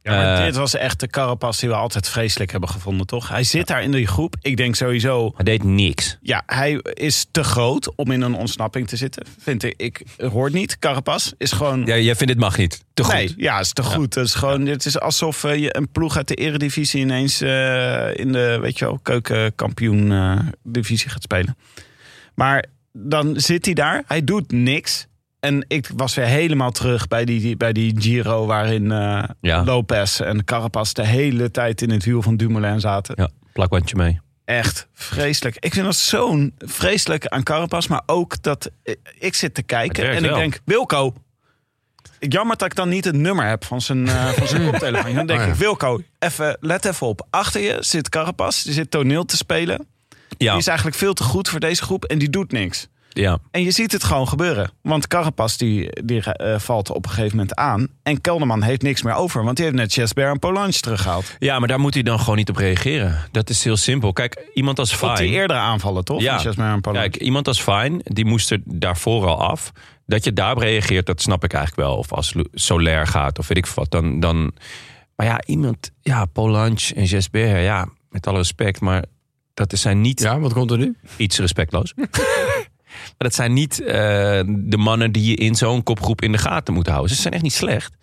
S3: Ja, maar
S2: Eh,
S3: dit was echt de carapas die we altijd vreselijk hebben gevonden, toch? Hij zit daar in die groep. Ik denk sowieso,
S2: Hij deed niks.
S3: ja, hij is te groot om in een ontsnapping te zitten. Vind ik, ik het hoort niet. Carapas is gewoon...
S2: Ja, jij vindt dit mag niet. Te goed.
S3: Nee, ja, is te goed. Het is gewoon, het is alsof eh, je een ploeg uit de eredivisie ineens eh, in de, weet je wel, keukenkampioen eh, divisie gaat spelen. Maar dan zit hij daar, hij doet niks. En ik was weer helemaal terug bij die, die- bij die Giro waarin eh,
S2: Ja.
S3: Lopez en Carapaz de hele tijd in het wiel van Dumoulin zaten.
S2: Ja, plakwandje mee.
S3: Echt vreselijk. Ik vind dat zo'n vreselijk aan Carapaz, maar ook dat eh, ik zit te kijken
S2: werkt
S3: en ik
S2: wel.
S3: denk, Wilco. Jammer dat ik dan niet het nummer heb van zijn, eh, van zijn koptelefoon. Dan denk
S1: Oh ja.
S3: ik, Wilco, even, let even op. Achter je zit Carapaz, die zit toneel te spelen.
S2: Ja,
S3: Die is eigenlijk veel te goed voor deze groep en die doet niks.
S2: Ja.
S3: En je ziet het gewoon gebeuren. Want Carapaz die, die eh, valt op een gegeven moment aan. En Kelderman heeft niks meer over. Want die heeft net Chesbert en Polansch teruggehaald.
S2: ja, maar daar moet hij dan gewoon niet op reageren. Dat is heel simpel. Kijk, iemand als
S3: Op die
S2: Fine...
S3: eerdere aanvallen, toch?
S2: Ja.
S3: Van Chesbert en Polansch.
S2: Kijk, iemand als Fine, die moest er daarvoor al af. Dat je daarop reageert, dat snap ik eigenlijk wel. Of als Lu- Solaire gaat, of weet ik wat, dan... dan... Maar ja, iemand... Ja, Polansch en Jesper, ja, met alle respect, maar... Dat zijn niet
S1: Ja, wat komt er nu?
S2: iets respectloos. maar dat zijn niet eh, de mannen die je in zo'n kopgroep in de gaten moet houden. Ze zijn echt niet slecht.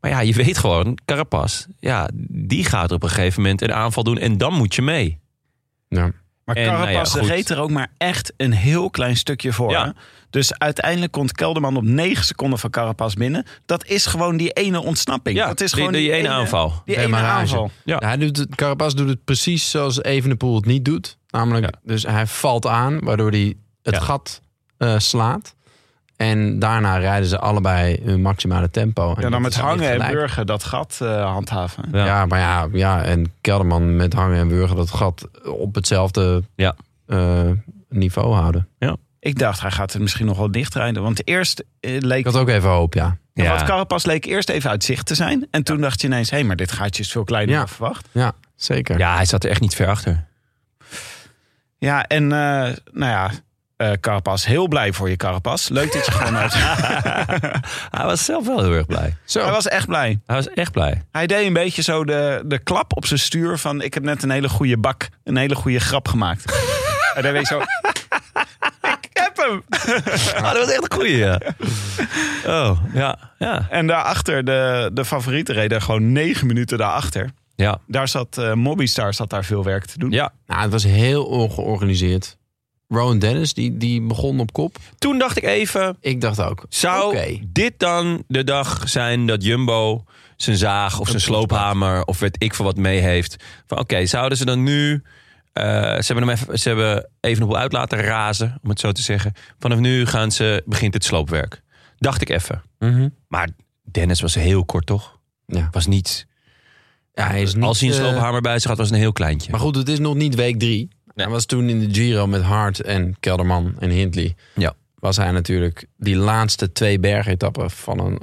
S2: Maar ja, je weet gewoon, Carapaz, ja, die gaat er op een gegeven moment een aanval doen en dan moet je mee.
S1: Ja.
S3: Maar
S2: En, nou ja,
S3: Carapaz
S2: goed.
S3: reed er ook maar echt een heel klein stukje voor.
S2: Ja.
S3: hè? Dus uiteindelijk komt Kelderman op 9 seconden van Carapaz binnen. Dat is gewoon die ene ontsnapping.
S2: Ja,
S3: dat is
S2: die-
S3: gewoon
S2: die ene aanval.
S3: Die ene
S1: Demarrage.
S3: aanval.
S2: Ja.
S1: Hij doet het, Carapaz doet het precies zoals Evenepoel het niet doet. Namelijk, dus hij valt aan, waardoor hij het
S2: Ja.
S1: gat eh, slaat. En daarna rijden ze allebei hun maximale tempo.
S3: Ja, dan
S1: dat
S3: met
S1: is
S3: hangen en
S1: gelijk.
S3: burger dat gat eh, handhaven.
S2: Ja.
S1: Ja. maar ja, ja, en Kelderman met hangen en burger dat gat op hetzelfde
S2: Ja.
S1: eh, niveau houden.
S3: Ik dacht, hij gaat het misschien nog wel dichtrijden. Want eerst eh,
S1: Ik
S3: leek...
S1: had ook even hoop, ja.
S3: Ja. Want
S2: Ja.
S3: Carapaz leek eerst even uit zicht te zijn. En toen dacht je ineens, hé, maar dit gaatje is veel kleiner
S1: Ja.
S3: dan verwacht.
S1: Ja, zeker.
S2: ja, hij zat er echt niet ver achter.
S3: Ja, en eh, nou ja, eh Carapaz, heel blij voor je Carapaz. Leuk dat je gewoon eh, uit...
S2: Hij was zelf wel heel erg blij.
S1: Zo.
S3: Hij was echt blij.
S2: Hij was echt blij.
S3: Hij deed een beetje zo de, de klap op zijn stuur van... ik heb net een hele goede bak, een hele goede grap gemaakt. en dan weet je zo... ik heb hem!
S2: Ah, dat was echt een goeie, ja. Oh, ja, ja.
S3: En daarachter, de, de favorieten reden gewoon negen minuten daarachter.
S2: Ja,
S3: Daar zat eh Mobistar zat daar veel werk te doen.
S2: ja.
S1: Nou, het was heel ongeorganiseerd. Rowan Dennis, die, die begon op kop.
S2: Toen dacht ik even,
S1: Ik dacht ook.
S2: Zou
S1: Oké.
S2: dit dan de dag zijn dat Jumbo zijn zaag of zijn sloophamer of weet ik veel wat mee heeft? Van oké, zouden ze dan nu. eh, ze hebben hem even, ze hebben even op uit laten razen, om het zo te zeggen. Vanaf nu gaan ze, begint het sloopwerk. Dacht ik even.
S1: Mhm.
S2: Maar Dennis was heel kort, toch?
S1: Ja.
S2: Was niets.
S1: Ja, hij is niet,
S2: Als hij een
S1: eh,
S2: sloophamer bij zich had, was het een heel kleintje.
S1: Maar goed, het is nog niet week drie. Hij was toen in de Giro met Hart en Kelderman en Hindley.
S2: Ja.
S1: Was hij natuurlijk die laatste twee bergetappen van een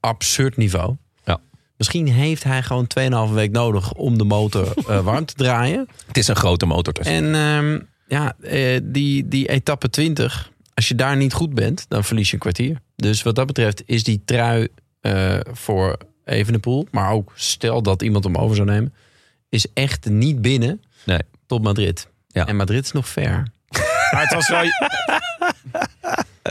S1: absurd niveau.
S2: Ja.
S1: Misschien heeft hij gewoon 2,5 week nodig om de motor eh, warm te draaien.
S2: het is een grote motor. Dus.
S1: En ehm, ja, eh, die, die etappe 20, als je daar niet goed bent, dan verlies je een kwartier. Dus wat dat betreft is die trui eh voor Evenepoel, maar ook stel dat iemand hem over zou nemen, is echt niet binnen
S2: Nee.
S1: tot Madrid.
S2: Ja.
S1: En Madrid is nog ver.
S3: Maar het was wel...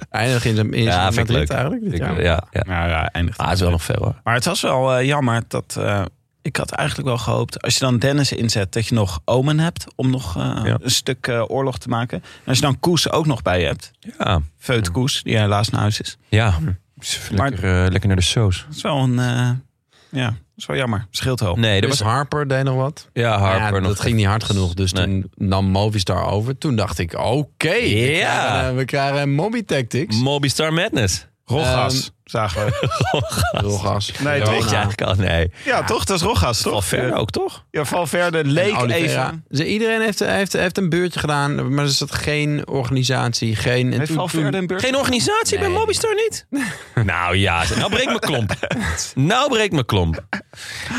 S1: Eindig in, zijn- in zijn
S2: Ja, vind ik leuk.
S1: Madrid eigenlijk. dit
S2: Ik-
S1: jaar.
S2: ja, ja.
S3: Nou ja, eindigt.
S2: Ah, het is wel nog ver hoor.
S3: Maar het was wel eh, jammer dat... eh, ik had eigenlijk wel gehoopt, als je dan Dennis inzet... dat je nog Omen hebt om nog eh,
S2: Ja.
S3: een stuk eh, oorlog te maken. En als je dan Koes ook nog bij je hebt.
S1: Hm.
S2: Ja,
S3: Veut Koes, die helaas naar huis is.
S2: ja. Lekker, eh, lekker naar de shows.
S3: Dat is wel een... eh, ja, dat is wel jammer. Scheelt wel.
S2: Nee, dat
S1: Dus
S2: was
S1: Harper deed nog wat.
S2: Ja, Harper
S1: Maar ja,
S2: nog.
S1: dat ging niet hard genoeg. Dus
S2: Nee.
S1: toen nam Movistar over. Toen dacht ik, oké. we
S2: Ja.
S1: krijgen, eh, We krijgen Mobby Tactics.
S2: Moby Star Madness.
S3: Rogas,
S1: Ehm,
S3: zagen we.
S1: Rogas.
S3: Nee,
S1: Girona.
S3: het
S2: Weet je eigenlijk al? Nee.
S3: Ja, toch? Dat is Rogas, toch?
S2: Toch ver ook, toch?
S3: Ja, Valverde leek
S1: Oliveira.
S3: even...
S1: Ze, iedereen heeft, heeft, heeft een beurtje gedaan, maar er zat geen organisatie, geen... En
S3: Heeft Valverde een beurt?
S2: Geen organisatie bij
S1: Nee.
S2: Mobistar niet? nou ja, nou breekt mijn klomp. nou breekt mijn klomp.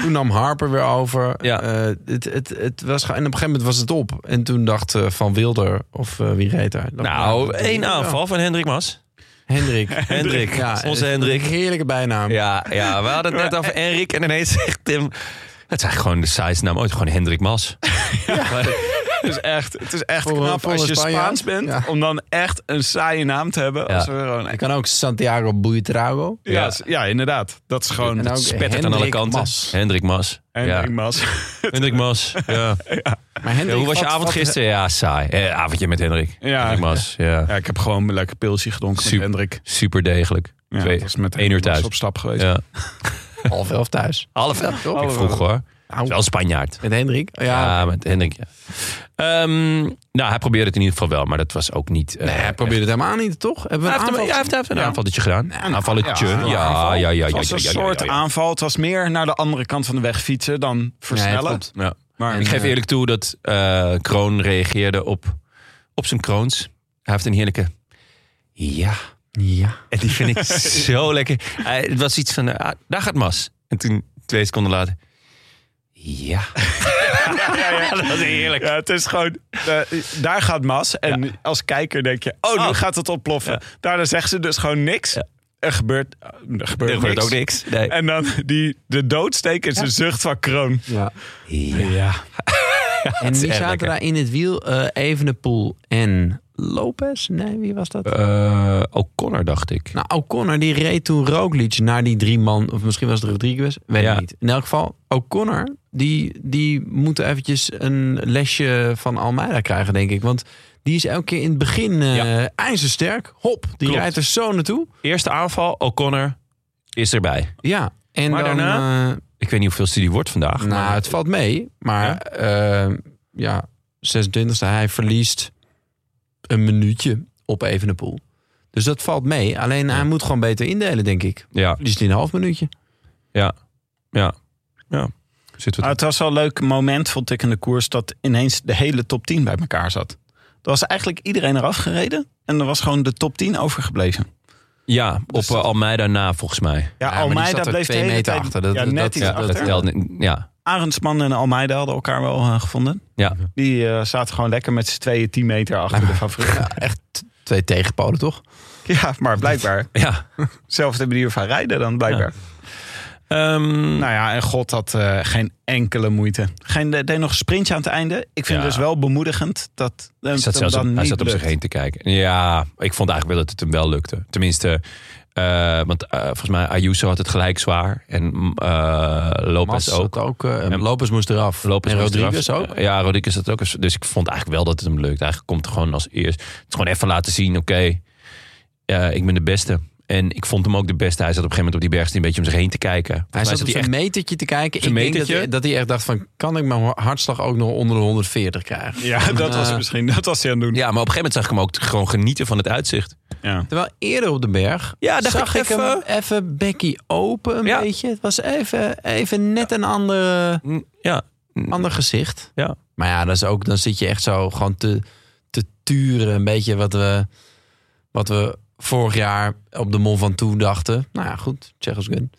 S1: Toen nam Harper weer over.
S2: Ja.
S1: Eh, het, het, het was, ge- en op een gegeven moment was het op. En toen dacht eh, Van Wilder, of eh, wie reed daar? Dat-
S2: Nou,
S1: dat-
S2: één aanval van Hendrik Mas.
S1: Hendrik.
S2: Hendrik, onze
S1: eh,
S2: Hendrik.
S1: Heerlijke bijnaam.
S2: Ja, ja, we hadden het net over Henrik en ineens zegt Tim... Het is eigenlijk gewoon de saaiste naam ooit. Gewoon Hendrik Mas.
S3: Het is echt, het is echt
S1: Voor-
S3: knap
S1: voor
S3: als je
S1: een Spanjaard.
S3: Spaans bent.
S1: Ja.
S3: Om dan echt een saaie naam te hebben.
S2: Ja.
S3: Als we gewoon,
S1: Je kan ook Santiago Buitrago.
S3: ja. s- ja, inderdaad. Dat is gewoon
S1: En ook
S2: Spettert aan alle
S1: Hendrik
S2: kanten.
S1: Mas.
S2: Hendrik Mas.
S3: Henrik
S2: Ja.
S3: Mas.
S2: Hendrik Mas. Ja.
S1: Maar Hendrik,
S2: Ja, hoe was je
S1: vat-
S2: avond
S1: vat-
S2: gisteren? Ja, saai. Eh, avondje met Hendrik.
S3: Ja.
S2: Hendrik Mas. Ja.
S3: Ja, ik heb gewoon een lekker pilsje gedronken
S2: Super.
S3: met Hendrik.
S2: Super degelijk.
S3: Ja,
S2: Twee-
S3: dat was met
S2: één
S3: Hendrik
S2: uur thuis.
S3: Mas op stap geweest.
S2: Ja.
S1: Half elf thuis.
S2: Half elf. Ik vroeg hoor.
S1: Au.
S2: Wel Spanjaard.
S1: Met Hendrik? Oh. Ja.
S2: Ja, met Hendrik. Ja. Ehm, nou, hij probeerde het in ieder geval wel, maar dat was ook niet. eh,
S1: nee, hij probeerde het helemaal niet, toch? Hebben we
S2: Hij heeft,
S1: een
S2: hem-
S1: aanval?
S2: ja, hij heeft, hij heeft een aanvalletje gedaan. een aanvalletje. Ja, ja, ja. ja, ja,
S3: Het
S2: ja,
S3: was een
S2: ja, ja,
S3: soort
S2: ja, ja.
S3: aanval. Het was meer naar de andere kant van de weg fietsen dan
S1: Nee,
S3: versnellen.
S1: klopt.
S2: Ja.
S3: maar
S1: En-
S2: Ik geef
S1: eh,
S2: eerlijk toe dat eh, Kroon reageerde op, op zijn kroons. Hij heeft een heerlijke Ja.
S1: Ja.
S2: En die vind ik zo lekker. Hij- het was iets van, ah, daar gaat Mas. En toen twee seconden later. Ja. dat was heerlijk.
S3: Ja, het is gewoon, eh, daar gaat Mas. En als kijker denk je, oh, nu
S2: Oh.
S3: gaat het ontploffen. Daarna zegt ze dus gewoon niks. Er gebeurt, eh, er gebeurt,
S2: Er
S3: niks.
S2: gebeurt ook niks. Nee.
S3: En dan die, de doodsteek is een zucht van kroon.
S1: Ja.
S2: ja.
S1: En wie
S2: erg
S1: zaten
S2: lekker.
S1: daar in het wiel? Eh Evenepoel en Lopez? Nee, wie was dat?
S2: Eh, O'Connor dacht ik.
S1: Nou, O'Connor die reed toen Roglic naar die drie man. Of misschien was het Rodriguez. Weet
S2: Ja.
S1: ik niet. In elk geval, O'Connor die, die moet eventjes een lesje van Almeida krijgen, denk ik. Want die is elke keer in het begin eh,
S2: Ja.
S1: ijzersterk. Hop, die
S2: Klopt.
S1: rijdt er zo naartoe.
S2: Eerste aanval, O'Connor is erbij.
S1: Ja. En
S2: Maar
S1: dan,
S2: daarna?
S1: eh,
S2: Ik weet niet hoeveel studie wordt vandaag.
S1: nou,
S2: maar-
S1: het valt mee. Maar ja, ja 26e, hij verliest een minuutje op Evenepoel. Dus dat valt mee. Alleen hij moet gewoon beter indelen, denk ik. Dus
S2: ja,
S1: Verliest hij een half minuutje.
S2: ja, ja, ja. Zit wat
S3: Ah, het was wel een leuk moment, vond ik, in de koers... dat ineens de hele top 10 bij elkaar zat. Er was eigenlijk iedereen eraf gereden. En er was gewoon de top 10 overgebleven.
S2: Ja, op
S3: Dus
S2: eh, Almeida na volgens mij.
S3: Ja,
S1: maar die
S3: Almeida
S1: zat er
S3: bleef
S1: twee
S3: de hele
S1: meter
S3: tijd-
S1: achter. Dat-
S3: ja,
S1: dat-
S3: net
S1: dat-
S3: iets
S1: ja,
S3: achter.
S2: Dat telde niet- ja,
S3: Arendsman en Almeida hadden elkaar wel eh, gevonden.
S2: ja.
S3: Die eh, zaten gewoon lekker met z'n tweeën 10 meter achter de favoriet.
S1: echt twee tegenpolen, toch?
S3: Ja, maar blijkbaar.
S2: ja.
S3: Zelfde manier van rijden dan blijkbaar.
S2: Ehm,
S3: Nou ja, en God had eh, geen enkele moeite. Geen, de- deed nog een sprintje aan het einde. Ik vind
S2: Ja.
S3: het dus wel bemoedigend dat eh,
S2: hij
S3: het
S2: zat,
S3: hem
S2: zelfs op,
S3: dan
S2: hij
S3: niet
S2: zat op zich
S3: lukt.
S2: heen te kijken. Ja, ik vond eigenlijk wel dat het hem wel lukte. Tenminste, eh, want eh, volgens mij Ayuso had het gelijk zwaar. En mm, eh Lopez
S1: Mas
S2: ook.
S1: ook. ook eh, Lopez moest eraf.
S2: Lopez
S1: en
S2: was eraf.
S1: Rodriguez ook.
S2: Eh, Ja, Rodriguez dat ook. Dus ik vond eigenlijk wel dat het hem lukt. Eigenlijk komt het gewoon als eerst. Het is gewoon even laten zien, oké, eh, ik ben de beste. En ik vond hem ook de beste. Hij zat op een gegeven moment op die berg een beetje om zich heen te kijken. Volgens mij
S1: Hij zat op
S2: hij
S1: zijn
S2: echt
S1: metertje te kijken.
S2: zijn
S1: Ik denk dat
S2: metertje.
S1: hij, dat hij echt dacht van... kan ik mijn hartslag ook nog onder de 140 krijgen?
S3: Ja, dat was
S1: Eh.
S3: misschien. Dat was hij aan het doen.
S2: Ja, maar op een gegeven moment zag ik hem ook gewoon genieten van het uitzicht.
S3: Ja.
S1: Terwijl eerder op de berg
S2: Ja, dacht
S1: zag
S2: ik
S1: ik hem even Becky open een
S2: Ja.
S1: beetje. Het was even, even net een ander,
S2: Mm, Ja,
S1: ander gezicht.
S2: Ja.
S1: Maar ja, dat is ook, dan zit je echt zo gewoon te, te turen. Een beetje wat we, wat we vorig jaar op de Mont Ventoux dachten. Nou ja, goed, Tsjechos gun.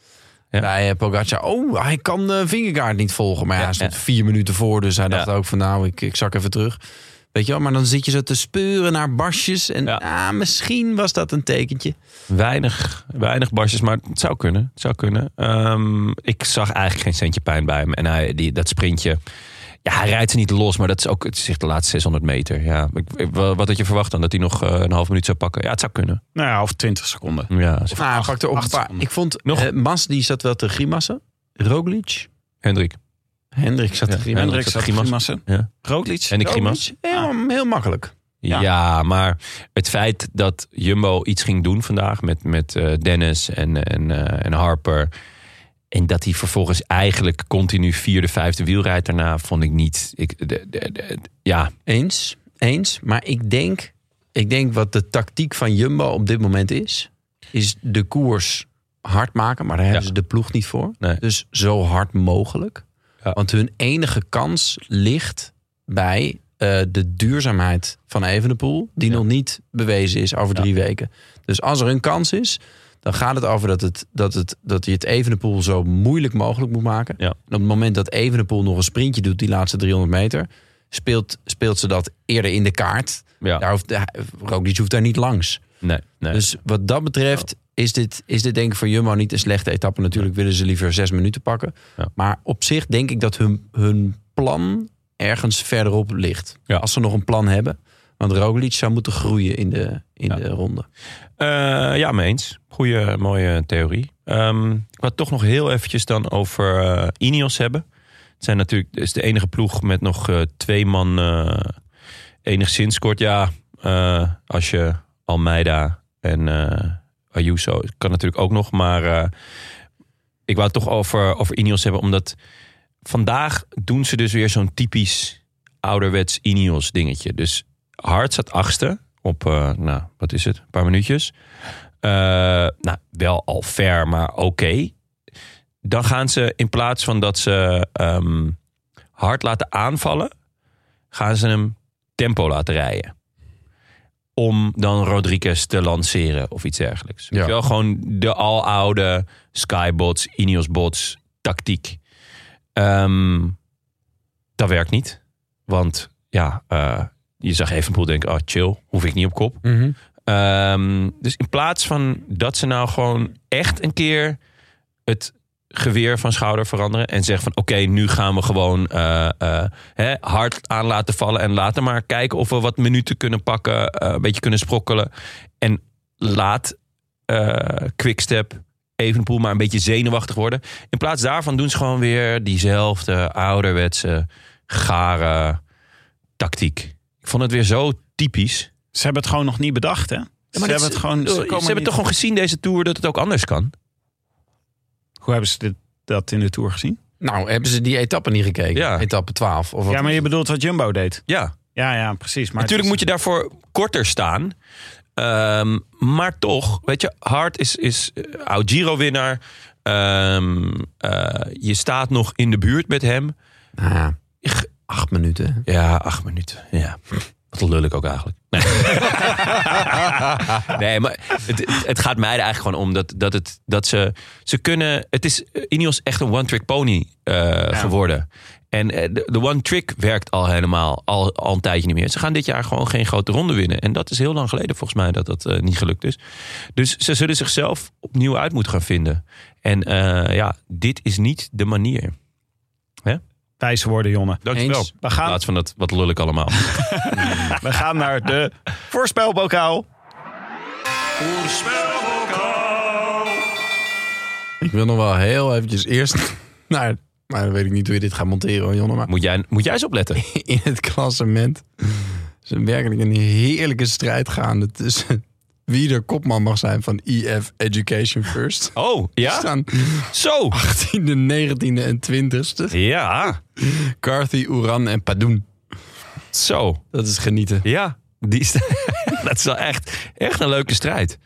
S2: Ja.
S1: Bij eh, Pogacar, oh, hij kan de vingerkaart niet volgen. Maar ja,
S2: Ja,
S1: hij stond
S2: ja.
S1: vier minuten voor, dus hij
S2: Ja.
S1: dacht ook van nou, ik, ik zak even terug. Weet je wel, maar dan zit je zo te speuren naar basjes. En
S2: Ja.
S1: ah, misschien was dat een tekentje.
S2: weinig, weinig barsjes, maar het zou kunnen. Het zou kunnen. Ehm, ik zag eigenlijk geen centje pijn bij hem. En hij, die, dat sprintje, ja, hij rijdt ze niet los, maar dat is ook het is echt de laatste 600 meter. Ja, ik, ik- wa- wat had je verwacht dan? Dat hij nog eh, een half minuut zou pakken? Ja, het zou kunnen.
S3: Nou ja, of 20 seconden.
S2: Ja, z-
S1: Nou, hij pakte op een
S3: acht
S1: paar.
S3: seconden.
S1: Ik vond
S2: Nog-
S1: eh, Mas, die zat wel te grimassen. Roglic.
S2: Hendrik.
S1: Hendrik zat
S2: Ja,
S1: te grimassen.
S3: Hendrik
S2: zat
S3: zat
S2: Grimas.
S3: Grimassen.
S2: Ja.
S3: Roglic.
S2: En ik grimas. Ah.
S1: Heel, heel makkelijk.
S2: Ja.
S3: Ja.
S2: maar het feit dat Jumbo iets ging doen vandaag met, met eh, Dennis en, en, eh, en Harper. En dat hij vervolgens eigenlijk continu vierde, vijfde wiel rijdt daarna, vond ik niet. Ik, de, de- de- ja,
S1: Eens, eens. Maar ik denk, ik denk wat de tactiek van Jumbo op dit moment is... is de koers hard maken. Maar daar hebben
S2: Ja.
S1: ze de ploeg niet voor.
S2: Nee.
S1: Dus zo hard mogelijk.
S2: Ja.
S1: Want hun enige kans ligt bij eh, de duurzaamheid van Evenepoel... die
S2: Ja.
S1: nog niet bewezen is over drie weken. Dus als er een kans is... Dan gaat het over dat, het, dat, het, dat je het Evenepoel zo moeilijk mogelijk moet maken.
S2: Ja.
S1: En op het moment dat Evenepoel nog een sprintje doet, die laatste 300 meter... speelt, speelt ze dat eerder in de kaart.
S2: ja.
S1: Daar hoeft, hij- Roglic hoeft daar niet langs.
S2: nee, nee.
S1: Dus wat dat betreft is dit, is dit denk ik voor Jumbo niet een slechte etappe. Natuurlijk willen ze liever zes minuten pakken.
S2: Ja.
S1: Maar op zich denk ik dat hun, hun plan ergens verderop ligt.
S2: Ja.
S1: Als ze nog een plan hebben. Want Roglic zou moeten groeien in de, in
S2: Ja.
S1: de ronde.
S2: Eh, ja, mee eens. Goeie, mooie theorie. Ehm, ik wou het toch nog heel eventjes dan over eh Ineos hebben. Het zijn natuurlijk het is de enige ploeg met nog eh, twee man eh, enigszins kort. Ja, eh, als je Almeida en eh, Ayuso kan natuurlijk ook nog. Maar eh, ik wou het toch over, over Ineos hebben. Omdat vandaag doen ze dus weer zo'n typisch ouderwets Ineos dingetje. Dus Hart staat achtste op, eh, nou, wat is het? Een paar minuutjes. Eh, nou, wel al ver, maar oké. Dan gaan ze in plaats van dat ze ehm, hard laten aanvallen, gaan ze hem tempo laten rijden. om dan Rodriguez te lanceren of iets dergelijks.
S1: Ja.
S2: Weet je wel, gewoon de aloude Skybots, Ineosbots tactiek. Ehm, dat werkt niet. Want ja, eh, je zag Evenpoel denken, oh chill, hoef ik niet op kop. Ehm, dus in plaats van dat ze nou gewoon echt een keer het geweer van schouder veranderen en zeggen van oké, nu gaan we gewoon eh, eh, hè, hard aan laten vallen en laten maar kijken of we wat minuten kunnen pakken, eh, een beetje kunnen sprokkelen. En laat eh Quickstep Evenpoel maar een beetje zenuwachtig worden. In plaats daarvan doen ze gewoon weer diezelfde ouderwetse gare tactiek. Ik vond het weer zo typisch.
S3: Ze hebben het gewoon nog niet bedacht, hè? ze
S2: dat
S3: hebben
S2: is- Oh,
S3: het gewoon.
S2: Ze,
S3: Ze, komen
S2: hebben
S3: niet-
S2: toch gewoon gezien deze tour dat het ook anders kan.
S3: Hoe hebben ze dit, dat in de tour gezien?
S1: Nou, hebben ze die etappe niet gekeken?
S2: Ja.
S1: Etappe 12. Of wat?
S3: Ja, maar je bedoelt wat Jumbo deed.
S2: Ja,
S3: Ja, ja, precies. Maar
S2: natuurlijk moet je daarvoor korter staan. Ehm, maar toch, weet je, Hart is, is eh, oud Giro-winnaar. Ehm, eh, je staat nog in de buurt met hem.
S1: Nou ja, acht minuten.
S2: Ja, acht minuten. Ja. Wat lul ik ook eigenlijk. Nee, nee maar het, het gaat mij er eigenlijk gewoon om dat, dat, het, dat ze, ze kunnen... Het is Ineos echt een one-trick pony eh, geworden. En eh, de, de one-trick werkt al helemaal al, al een tijdje niet meer. Ze gaan dit jaar gewoon geen grote ronde winnen. En dat is heel lang geleden volgens mij dat dat eh, niet gelukt is. Dus ze zullen zichzelf opnieuw uit moeten gaan vinden. En eh, ja, dit is niet de manier.
S3: wijs worden, Jonne.
S2: Dankjewel.
S1: Eens.
S3: We
S2: In
S3: gaan,
S2: plaats van dat wat lul ik allemaal.
S3: we gaan naar de voorspelbokaal.
S1: Ik wil nog wel heel eventjes eerst naar... Maar dan weet ik niet hoe je dit gaat monteren, hoor, Jonne. Maar
S2: Moet jij, moet jij eens opletten.
S1: in het klassement is er werkelijk een heerlijke strijd gaande tussen wie er kopman mag zijn van EF Education First.
S2: Oh,
S1: Er
S2: ja?
S1: staan
S2: Zo!
S1: 18e, 19e en 20e.
S2: Ja,
S1: Carthy, Oeran en Padoen.
S2: zo.
S1: Dat is genieten.
S2: Ja, die is, dat is wel echt, echt een leuke strijd.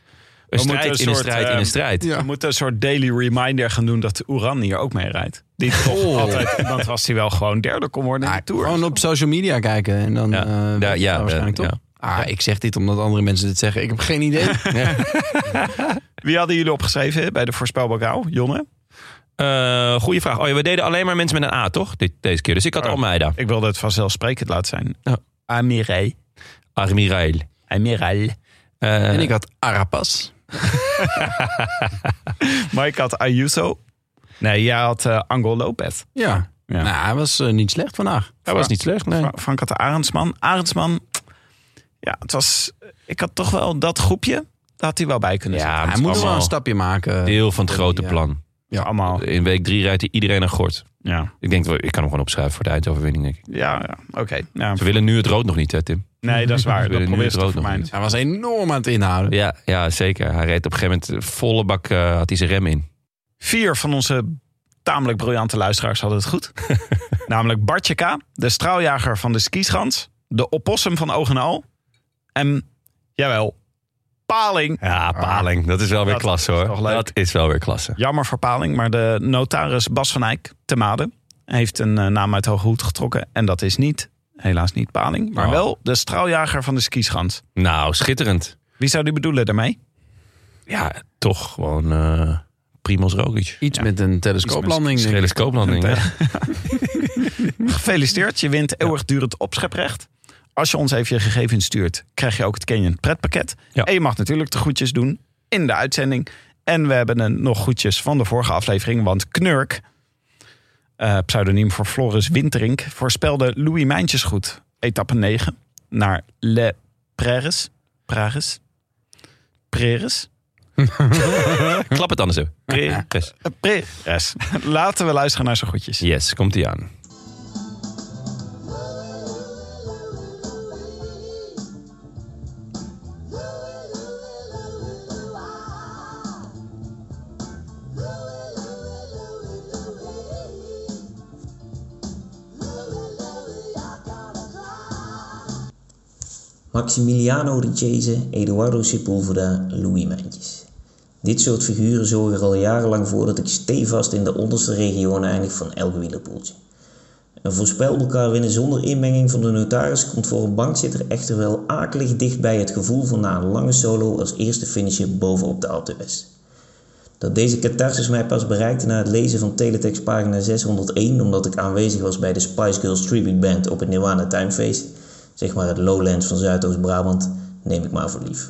S2: Een
S3: moeten
S2: strijd
S3: een
S2: in een
S3: soort,
S2: strijd in
S3: ehm,
S2: een strijd.
S1: Ja.
S3: We moeten een soort daily reminder gaan doen dat Oeran hier ook mee rijdt. Die toch altijd iemand was die wel gewoon derde kon worden in de tour.
S1: Gewoon op social media kijken en dan
S2: Ja.
S1: eh, weet
S2: Ja,
S1: je
S2: ja, eh,
S1: wel waarschijnlijk
S2: ja.
S1: toch? Ah, ik zeg dit omdat andere mensen dit zeggen. Ik heb geen idee. Ja.
S3: Wie hadden jullie opgeschreven bij de voorspelbokaal? Jonne?
S2: Eh goeie vraag. Oh ja, we deden alleen maar mensen met een A, toch? Dit, deze keer. Dus ik had
S3: Oh.
S2: Almeida.
S3: Ik wilde het vanzelfsprekend laten zijn.
S2: Ja.
S3: Amirei.
S2: Armirail.
S3: Amirei.
S2: Eh,
S1: En ik had Arapas.
S3: Mike had Ayuso. Nee, jij had eh Angol Lopez.
S1: Ja.
S3: Ja.
S1: Nou, hij was eh, niet slecht vandaag.
S2: dat was niet slecht, nee.
S3: Fra- Frank had Arendsman. Arendsman, ja, het was... Ik had toch wel dat groepje, daar had hij wel bij kunnen
S2: Ja,
S3: zitten.
S2: het
S1: Hij
S2: is
S1: moet wel
S2: allemaal
S1: een stapje maken.
S2: Deel van het grote
S1: Ja.
S2: plan.
S3: Ja, allemaal.
S2: In week drie rijdt hij iedereen naar Gort.
S3: Ja,
S2: Ik denk, wel, ik kan hem gewoon opschrijven voor de eindoverwinning, denk ik.
S3: ja, ja. oké. Ja.
S2: Ze willen nu het rood nog niet, hè, Tim?
S3: Nee, dat is waar.
S2: willen
S3: Dat
S2: nu
S3: probeer
S2: het
S3: ze te
S2: rood nog
S3: vermijden.
S2: niet.
S1: Hij was enorm aan het inhouden.
S2: Ja, ja zeker. Hij reed op een gegeven moment eh, volle bak, eh, had hij zijn rem in.
S3: Vier van onze tamelijk briljante luisteraars hadden het goed. Namelijk Bartje K., de straaljager van de skischans. De opossum van Oog en Al. En, jawel, Paling.
S2: Ja, Paling. Dat is wel weer
S3: Dat
S2: klasse hoor.
S3: is toch leuk.
S2: dat is wel weer klasse.
S3: Jammer voor Paling, maar de notaris Bas van Eyck te Maden heeft een eh, naam uit hoge hoed getrokken. En dat is niet, helaas niet Paling, maar
S2: Oh.
S3: wel de straaljager van de skischans.
S2: Nou, schitterend.
S3: Wie zou die bedoelen daarmee?
S2: Ja, toch gewoon eh Primoz Rogic.
S1: Iets met een telescooplanding. denk ik.
S2: Telescooplanding. hè?
S3: Gefeliciteerd, je wint eeuwigdurend opscheprecht. Als je ons even je gegevens stuurt, krijg je ook het Canyon pretpakket.
S2: Ja.
S3: En je mag natuurlijk de groetjes doen in de uitzending. En we hebben een, nog groetjes van de vorige aflevering, want Knurk, eh, pseudoniem voor Floris Winterink, voorspelde Louis Mijntjes goed. Etappe 9 naar Le Prairies. Prairies. Prairies.
S2: Klap het anders even. Yes.
S3: Eh, Prairies. Laten we luisteren naar zijn groetjes.
S2: Yes, komt hij aan.
S4: Maximiliano Richese, Eduardo Sepulveda, Louis Mijntjes. Dit soort figuren zorgen er al jarenlang voor dat ik stevast in de onderste regionen eindig van elk wielerpoeltje. Een voorspelbokaal winnen zonder inmenging van de notaris komt voor een bankzitter echter wel akelig dicht bij het gevoel van na een lange solo als eerste finisher bovenop de Alpe d'Huez. Dat deze catharsis mij pas bereikte na het lezen van teletext pagina 601 omdat ik aanwezig was bij de Spice Girls Tribute Band op het Nirwana Timefeest, zeg maar het lowlands van Zuidoost-Brabant, neem ik maar voor lief.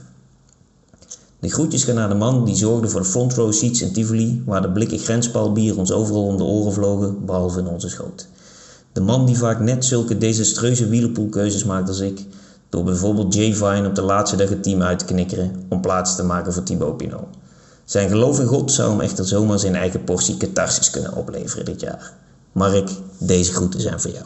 S4: De groetjes gaan naar de man die zorgde voor de front row seats in Tivoli, waar de blikken grenspaalbier ons overal om de oren vlogen, behalve in onze schoot. De man die vaak net zulke desastreuze wielerpoolkeuzes maakt als ik, door bijvoorbeeld Jay Vine op de laatste dag het team uit te knikkeren om plaats te maken voor Thibaut Pinot. Zijn geloof in God zou hem echter zomaar zijn eigen portie catharsis kunnen opleveren dit jaar. Mark, deze groeten zijn voor jou.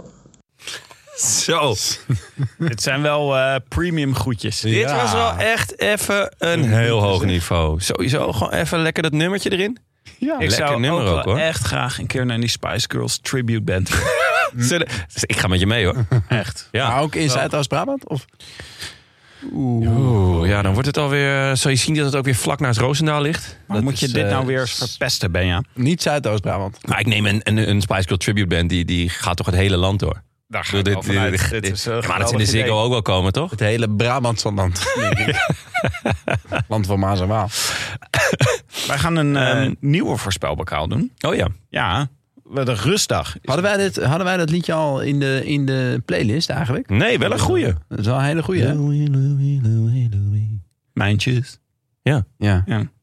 S3: Zo. Dit zijn wel eh, premium groetjes.
S2: Dit was wel echt even een heel hoog niveau. Sowieso gewoon even lekker dat nummertje erin.
S5: Ja.
S3: Ik zou
S2: Lekker nummer
S3: ook,
S2: ook,
S3: wel
S2: hoor.
S3: echt graag een keer naar die Spice Girls tribute band.
S2: Zullen- Dus ik ga met je mee hoor.
S3: echt.
S2: Ja.
S1: Maar ook in Zuidoost-Brabant? Of?
S2: Oeh, ja, dan wordt het alweer. Zal je zien dat het ook weer vlak naast Roosendaal ligt?
S3: Maar
S2: Dat
S3: moet je
S2: is,
S3: dit
S2: eh,
S3: nou weer eens verpesten, Benja?
S1: Niet Zuidoost-Brabant.
S2: Maar ik neem een, een, een Spice Girl tribute band, die, die gaat toch het hele land door?
S3: Daar
S2: Ik bedoel, dit- dit- dit- dit- Ja, maar dat is eh, in de Ziggo ook wel komen, toch?
S1: Het hele Brabantse land. denk ik. land van Maas en Waal.
S3: Wij gaan een eh, nieuwe voorspelbokaal doen.
S2: Oh ja.
S3: Ja, de rustdag. is-
S1: Hadden wij, dit, hadden wij dat liedje al in de, in de playlist eigenlijk?
S2: Nee, wel een goeie.
S1: Dat is wel een hele goeie, hè?
S3: Mijntjes.
S1: Ja.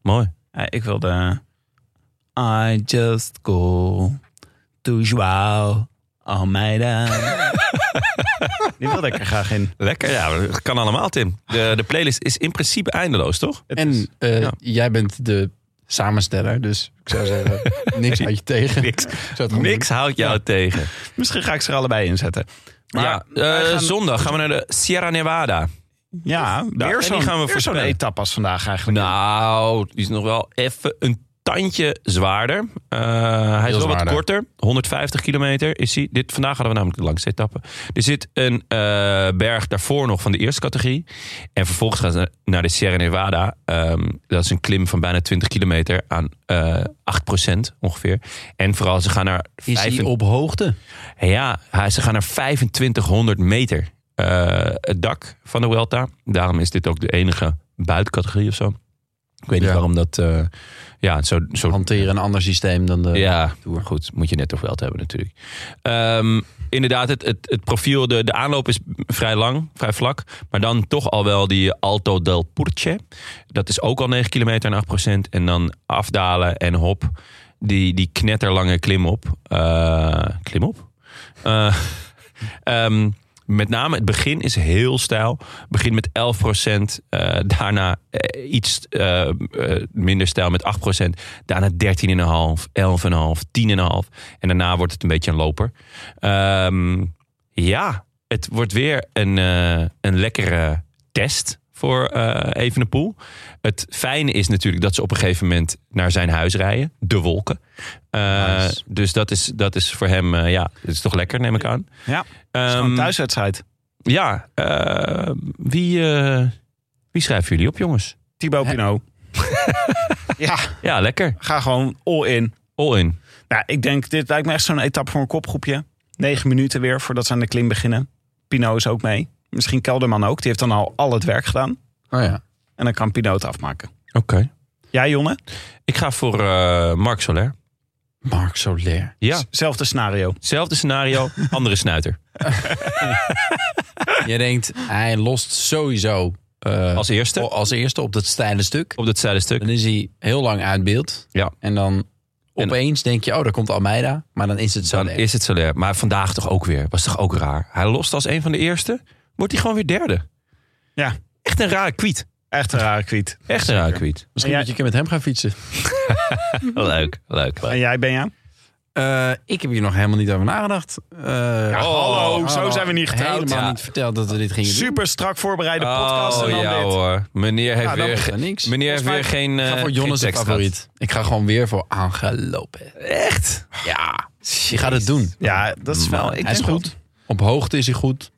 S2: Mooi.
S3: Ja, ik wilde... I just go to Joao Almeida. Die wilde ik er graag in.
S2: Lekker, ja, dat kan allemaal, Tim. De, de playlist is in principe eindeloos, toch?
S3: Het
S1: En
S3: is-
S1: eh,
S2: ja.
S1: jij bent de samensteller, dus ik zou zeggen, niks uit je tegen.
S2: Niks.
S1: Ik zou het gewoon
S2: Niks houdt jou tegen.
S3: misschien ga ik ze er allebei in zetten. Maar
S2: ja,
S3: wij
S2: eh,
S3: gaan- Oh,
S2: zondag gaan we naar de Sierra Nevada.
S3: Ja,
S2: Daar- en
S3: weer
S2: die
S3: zo'n,
S2: gaan we
S3: weer zo'n
S2: voorspellen.
S3: etappe als vandaag eigenlijk.
S2: Nou, die is nog wel even een tandje zwaarder. Eh, hij is wel wat
S1: zwaarder.
S2: korter. 150 kilometer is hij. Dit, vandaag hadden we namelijk de langste etappe. Er zit een eh, berg daarvoor nog van de eerste categorie. En vervolgens gaan ze naar de Sierra Nevada. Ehm, dat is een klim van bijna 20 kilometer aan eh 8% ongeveer. En vooral ze gaan naar...
S1: Is hij
S2: 25
S1: op hoogte?
S2: ja, hij- ze gaan naar 2500 meter. eh, het dak van de Welta. Daarom is dit ook de enige buitencategorie of zo. Ik weet niet
S1: Ja.
S2: waarom dat... eh, ja, zo, zo,
S1: Hanteren een ander systeem dan de...
S2: ja,
S1: Tour.
S2: goed. Moet je net toch wel het hebben natuurlijk. Ehm, inderdaad, het, het, het profiel, de, de aanloop is vrij lang, vrij vlak. Maar dan toch al wel die Alto del Purce. Dat is ook al 9 kilometer en 8 procent. En dan afdalen en hop. Die, die knetterlange klimop. Eh klimop? Eh, ehm, met name het begin is heel stijl. Het begint met 11 eh, daarna eh, iets eh, eh, minder stijl met 8 Daarna 13,5, 11,5, 10,5. En daarna wordt het een beetje een loper. Ehm, ja, het wordt weer een, eh, een lekkere test voor eh Evenepoel. Het fijne is natuurlijk dat ze op een gegeven moment naar zijn huis rijden. De wolken. Eh, Dus dat is, dat is voor hem, eh, ja, het is toch lekker, neem ik aan.
S3: Ja, het is
S2: Ehm,
S3: gewoon een thuiswedstrijd.
S2: ja, eh, wie, eh, wie schrijven jullie op, jongens?
S3: Thibaut Pinot. ja,
S2: Ja, lekker.
S3: ga gewoon all in.
S2: All in.
S3: Nou, ik denk, dit lijkt me echt zo'n etappe voor een kopgroepje. Negen minuten weer voordat ze aan de klim beginnen. Pino is ook mee. Misschien Kelderman ook. Die heeft dan al al het werk gedaan.
S1: Oh ja.
S3: En dan kan Pino het afmaken.
S2: Oké.
S3: Ja, Jonne?
S2: Ik ga voor eh, Marc Soler.
S1: Mark Soler.
S2: Ja,
S3: Zelfde scenario.
S2: zelfde scenario, andere snuiter.
S1: Je denkt, hij lost sowieso eh,
S2: Als eerste
S1: als eerste op dat steile stuk.
S2: op dat zijdenstuk.
S1: Dan is hij heel lang uit beeld.
S2: Ja.
S1: En dan
S2: En-
S1: opeens denk je, oh, daar komt Almeida. Maar dan is het zo.
S2: Dan is het Soler. Maar vandaag toch ook weer. Was toch ook raar. Hij lost als een van de eerste. Wordt hij gewoon weer derde.
S3: Ja.
S2: Echt een rare kwiet.
S3: Echt een rare kwiet.
S2: Echt een rare kwiet.
S1: Misschien
S3: En jij-
S1: moet je een keer met hem gaan fietsen. Mhm.
S2: Leuk, leuk.
S3: En jij, Benja?
S1: Eh, ik heb hier nog helemaal niet over nagedacht. Eh, oh,
S3: hallo, zo zijn we niet getrouwd.
S1: Helemaal
S3: Ja.
S1: niet verteld dat we dit gingen doen.
S3: Super strak voorbereide podcast.
S2: Oh
S3: en dan
S2: ja
S3: dit.
S2: hoor. Meneer heeft
S1: Ja,
S2: weer,
S1: dan wordt
S2: ge-
S1: er niks.
S2: meneer heeft weer
S1: Volgens mij-
S2: geen.
S1: Ik ga
S2: eh,
S1: voor
S2: geen
S1: Jonas een
S2: tekst gehad.
S1: favoriet. Ik ga gewoon weer voor aangelopen. Echt? Ja. Je gaat het doen.
S3: Ja, dat is
S2: Mm,
S3: wel... Ik
S1: hij is
S3: denk
S1: goed. Op hoogte is hij goed.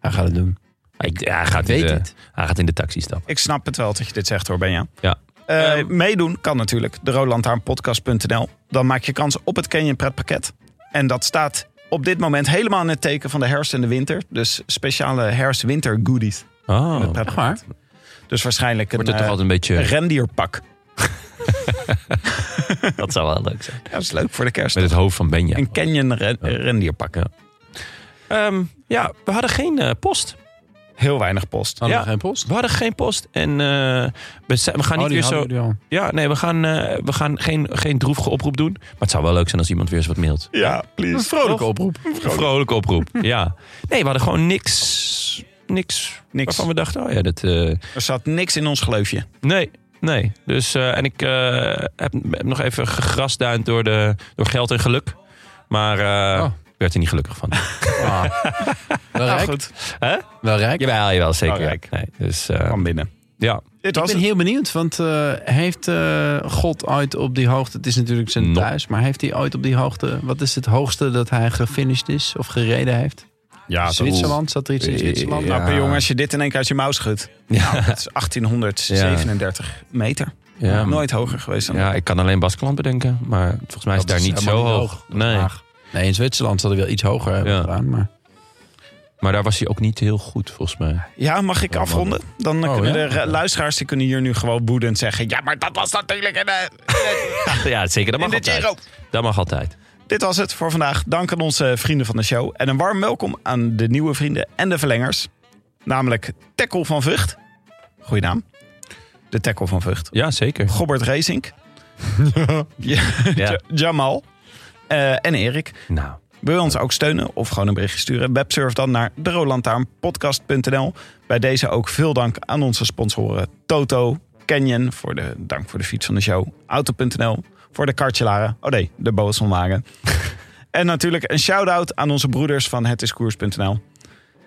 S1: Hij gaat het doen.
S2: Ik, ja, hij, gaat
S1: Weet
S2: in de,
S1: het.
S2: hij gaat in de taxi stappen.
S3: Ik snap het wel dat je dit zegt hoor, Benja.
S2: Ja.
S3: Eh,
S2: Ehm,
S3: meedoen kan natuurlijk. De Roland Podcast.nl. Dan maak je kans op het Canyon Pretpakket. En dat staat op dit moment helemaal in het teken van de herfst en de winter. Dus speciale herfst-winter goodies.
S2: Oh,
S3: Met pretpark.
S2: echt waar?
S3: Dus waarschijnlijk een,
S2: Wordt het toch
S3: eh,
S2: altijd een beetje...
S3: een rendierpak.
S2: dat zou wel leuk zijn.
S3: Ja, dat is leuk voor de kerst.
S2: Met het hoofd van Benja.
S3: Een canyon ren-
S2: Ja.
S3: rendierpak.
S2: Ja. Ehm, ja, we hadden geen eh, post.
S3: Heel weinig post.
S1: Hadden
S2: Ja.
S1: we geen post?
S2: We hadden geen post. En eh, we, zijn- we gaan niet
S1: Oh, die
S2: weer zo...
S1: hadden jullie al.
S2: Ja, nee, we gaan, eh, we gaan geen, geen droevige oproep doen. Maar het zou wel leuk zijn als iemand weer eens wat mailt.
S3: Ja, please.
S1: Vrolijke oproep.
S2: Een vrolijke oproep, ja. Nee, we hadden gewoon niks, niks,
S3: Niks.
S2: waarvan we dachten... Oh ja, dat... eh,
S3: Er zat niks in ons gleufje.
S2: nee, nee. Dus, eh, en ik eh, heb, heb nog even gegrasduind door, de, door geld en geluk. Maar eh
S1: Oh.
S2: werd er niet gelukkig van.
S1: Ah.
S2: Nou,
S1: Wel rijk.
S3: Nou, goed.
S2: Hè?
S1: Wel rijk.
S2: Jawel, jawel, zeker.
S3: Oh,
S2: ja.
S3: kijk.
S2: Nee, dus, eh,
S3: Kwam binnen.
S2: ja,
S3: Dit
S1: Ik
S3: was
S1: ben
S3: het.
S1: heel benieuwd, want eh, heeft eh, God ooit op die hoogte... Het is natuurlijk zijn
S2: Nope.
S1: thuis, maar heeft hij ooit op die hoogte... Wat is het hoogste dat hij gefinished is of gereden heeft?
S3: Ja,
S2: Dus
S1: Zwitserland? Zat er iets in Zwitserland?
S3: Nou,
S1: Ja.
S3: per jongen, als je dit in één keer uit je mouw schudt. Nou, dat is 1837 meter.
S2: ja,
S3: Nooit hoger geweest dan
S2: ja, ik kan alleen Baskeland bedenken. Maar volgens mij is het
S1: Dat
S2: daar
S1: is
S2: niet zo
S1: helemaal niet
S2: hoog.
S1: hoog.
S2: Nee,
S1: Haag. Nee, in Zwitserland zat hij wel iets hoger hebben
S2: Ja.
S1: gedaan. Maar
S2: maar daar was hij ook niet heel goed, volgens mij.
S3: Ja, mag ik afronden? Dan eh,
S1: Oh,
S3: kunnen
S1: ja?
S3: de eh, luisteraars die kunnen hier nu gewoon boedend zeggen... Ja, maar dat was natuurlijk in de,
S2: Ja, zeker. Dat
S3: in
S2: mag
S3: de
S2: altijd.
S3: Giro.
S2: Dat mag altijd.
S3: Dit was het voor vandaag. Dank aan onze vrienden van de show. En een warm welkom aan de nieuwe vrienden en de verlengers. Namelijk Tackle van Vught. Goeie naam. De Tackle van Vught.
S2: Ja, zeker.
S3: Gobbert Racing. ja. Ja, Jamal. Eh, en Erik.
S2: Nou,
S3: Wil je ons ook steunen of gewoon een berichtje sturen? Websurf dan naar derolantaarnpodcast.nl. Bij deze ook veel dank aan onze sponsoren Toto, Canyon voor de dank voor de fiets van de show, Auto.nl voor de kartjelaren, oh nee, de Boasonwagen. en natuurlijk een shout-out aan onze broeders van hetiskoers.nl.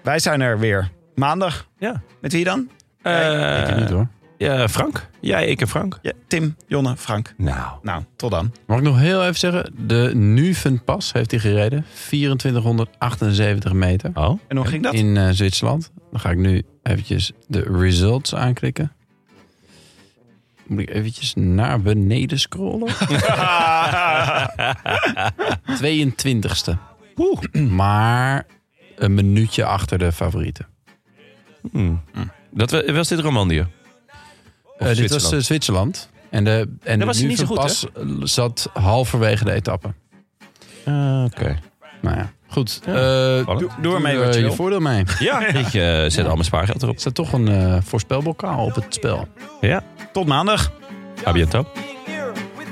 S3: Wij zijn er weer maandag.
S2: ja.
S3: Met wie dan?
S2: Eh,
S1: ik niet hoor.
S2: ja, Frank. Jij, ik en Frank.
S3: Ja, Tim, Jonne, Frank.
S2: Nou.
S3: Nou, tot dan.
S1: Mag ik nog heel even zeggen? De Nuvenpas heeft hij gereden. 2478 meter.
S2: Oh,
S3: En hoe ging dat?
S1: in eh, Zwitserland. Dan ga ik nu eventjes de results aanklikken. Moet ik eventjes naar beneden scrollen? 22ste. Maar een minuutje achter de favorieten.
S2: hmm. dat wa- was dit Romandie.
S1: Eh, dit was eh,
S2: Zwitserland.
S1: Zwitserland. En de, en de
S2: was hij niet zo goed,
S1: Nuvenpas zat halverwege de etappe.
S2: Ah, Oké.
S1: Nou ja, goed. Eh
S2: Doe-
S3: doe ermee
S1: eh,
S3: wat je
S1: je
S3: wil.
S1: voordeel mee.
S2: Ja, ik eh, zet al mijn spaargeld erop.
S1: Er staat toch een eh voorspelbokaal op het spel.
S2: Ja.
S3: Tot maandag.
S2: A bientôt.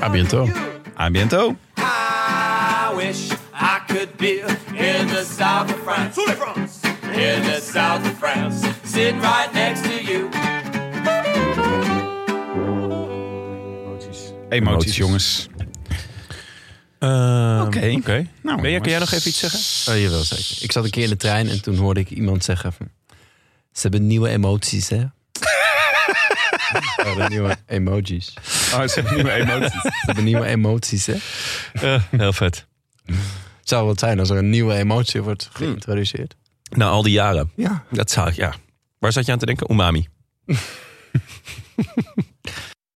S2: Ah,
S1: A bientôt.
S3: A biento.
S6: I wish I could be in the south of France. In the south of France, sitting right next to you.
S3: Emoties, jongens.
S2: Ehm,
S3: Oké.
S2: Oké.
S3: Nou,
S2: Benja, kun jij nog
S3: jongens.
S2: even iets zeggen?
S1: Oh, jawel, zeker. Ik zat een keer in de trein en toen hoorde ik iemand zeggen van... Ze hebben nieuwe emoties, hè? Ze hebben nieuwe emojis.
S3: Oh, ze hebben nieuwe emoties.
S1: Ze hebben nieuwe emoties, hè?
S2: Eh, heel vet.
S1: Het zou wat zijn als er een nieuwe emotie wordt geïntroduceerd.
S2: Na al die jaren.
S1: Ja.
S2: Dat zou ik, ja. Waar zat je aan te denken? Umami.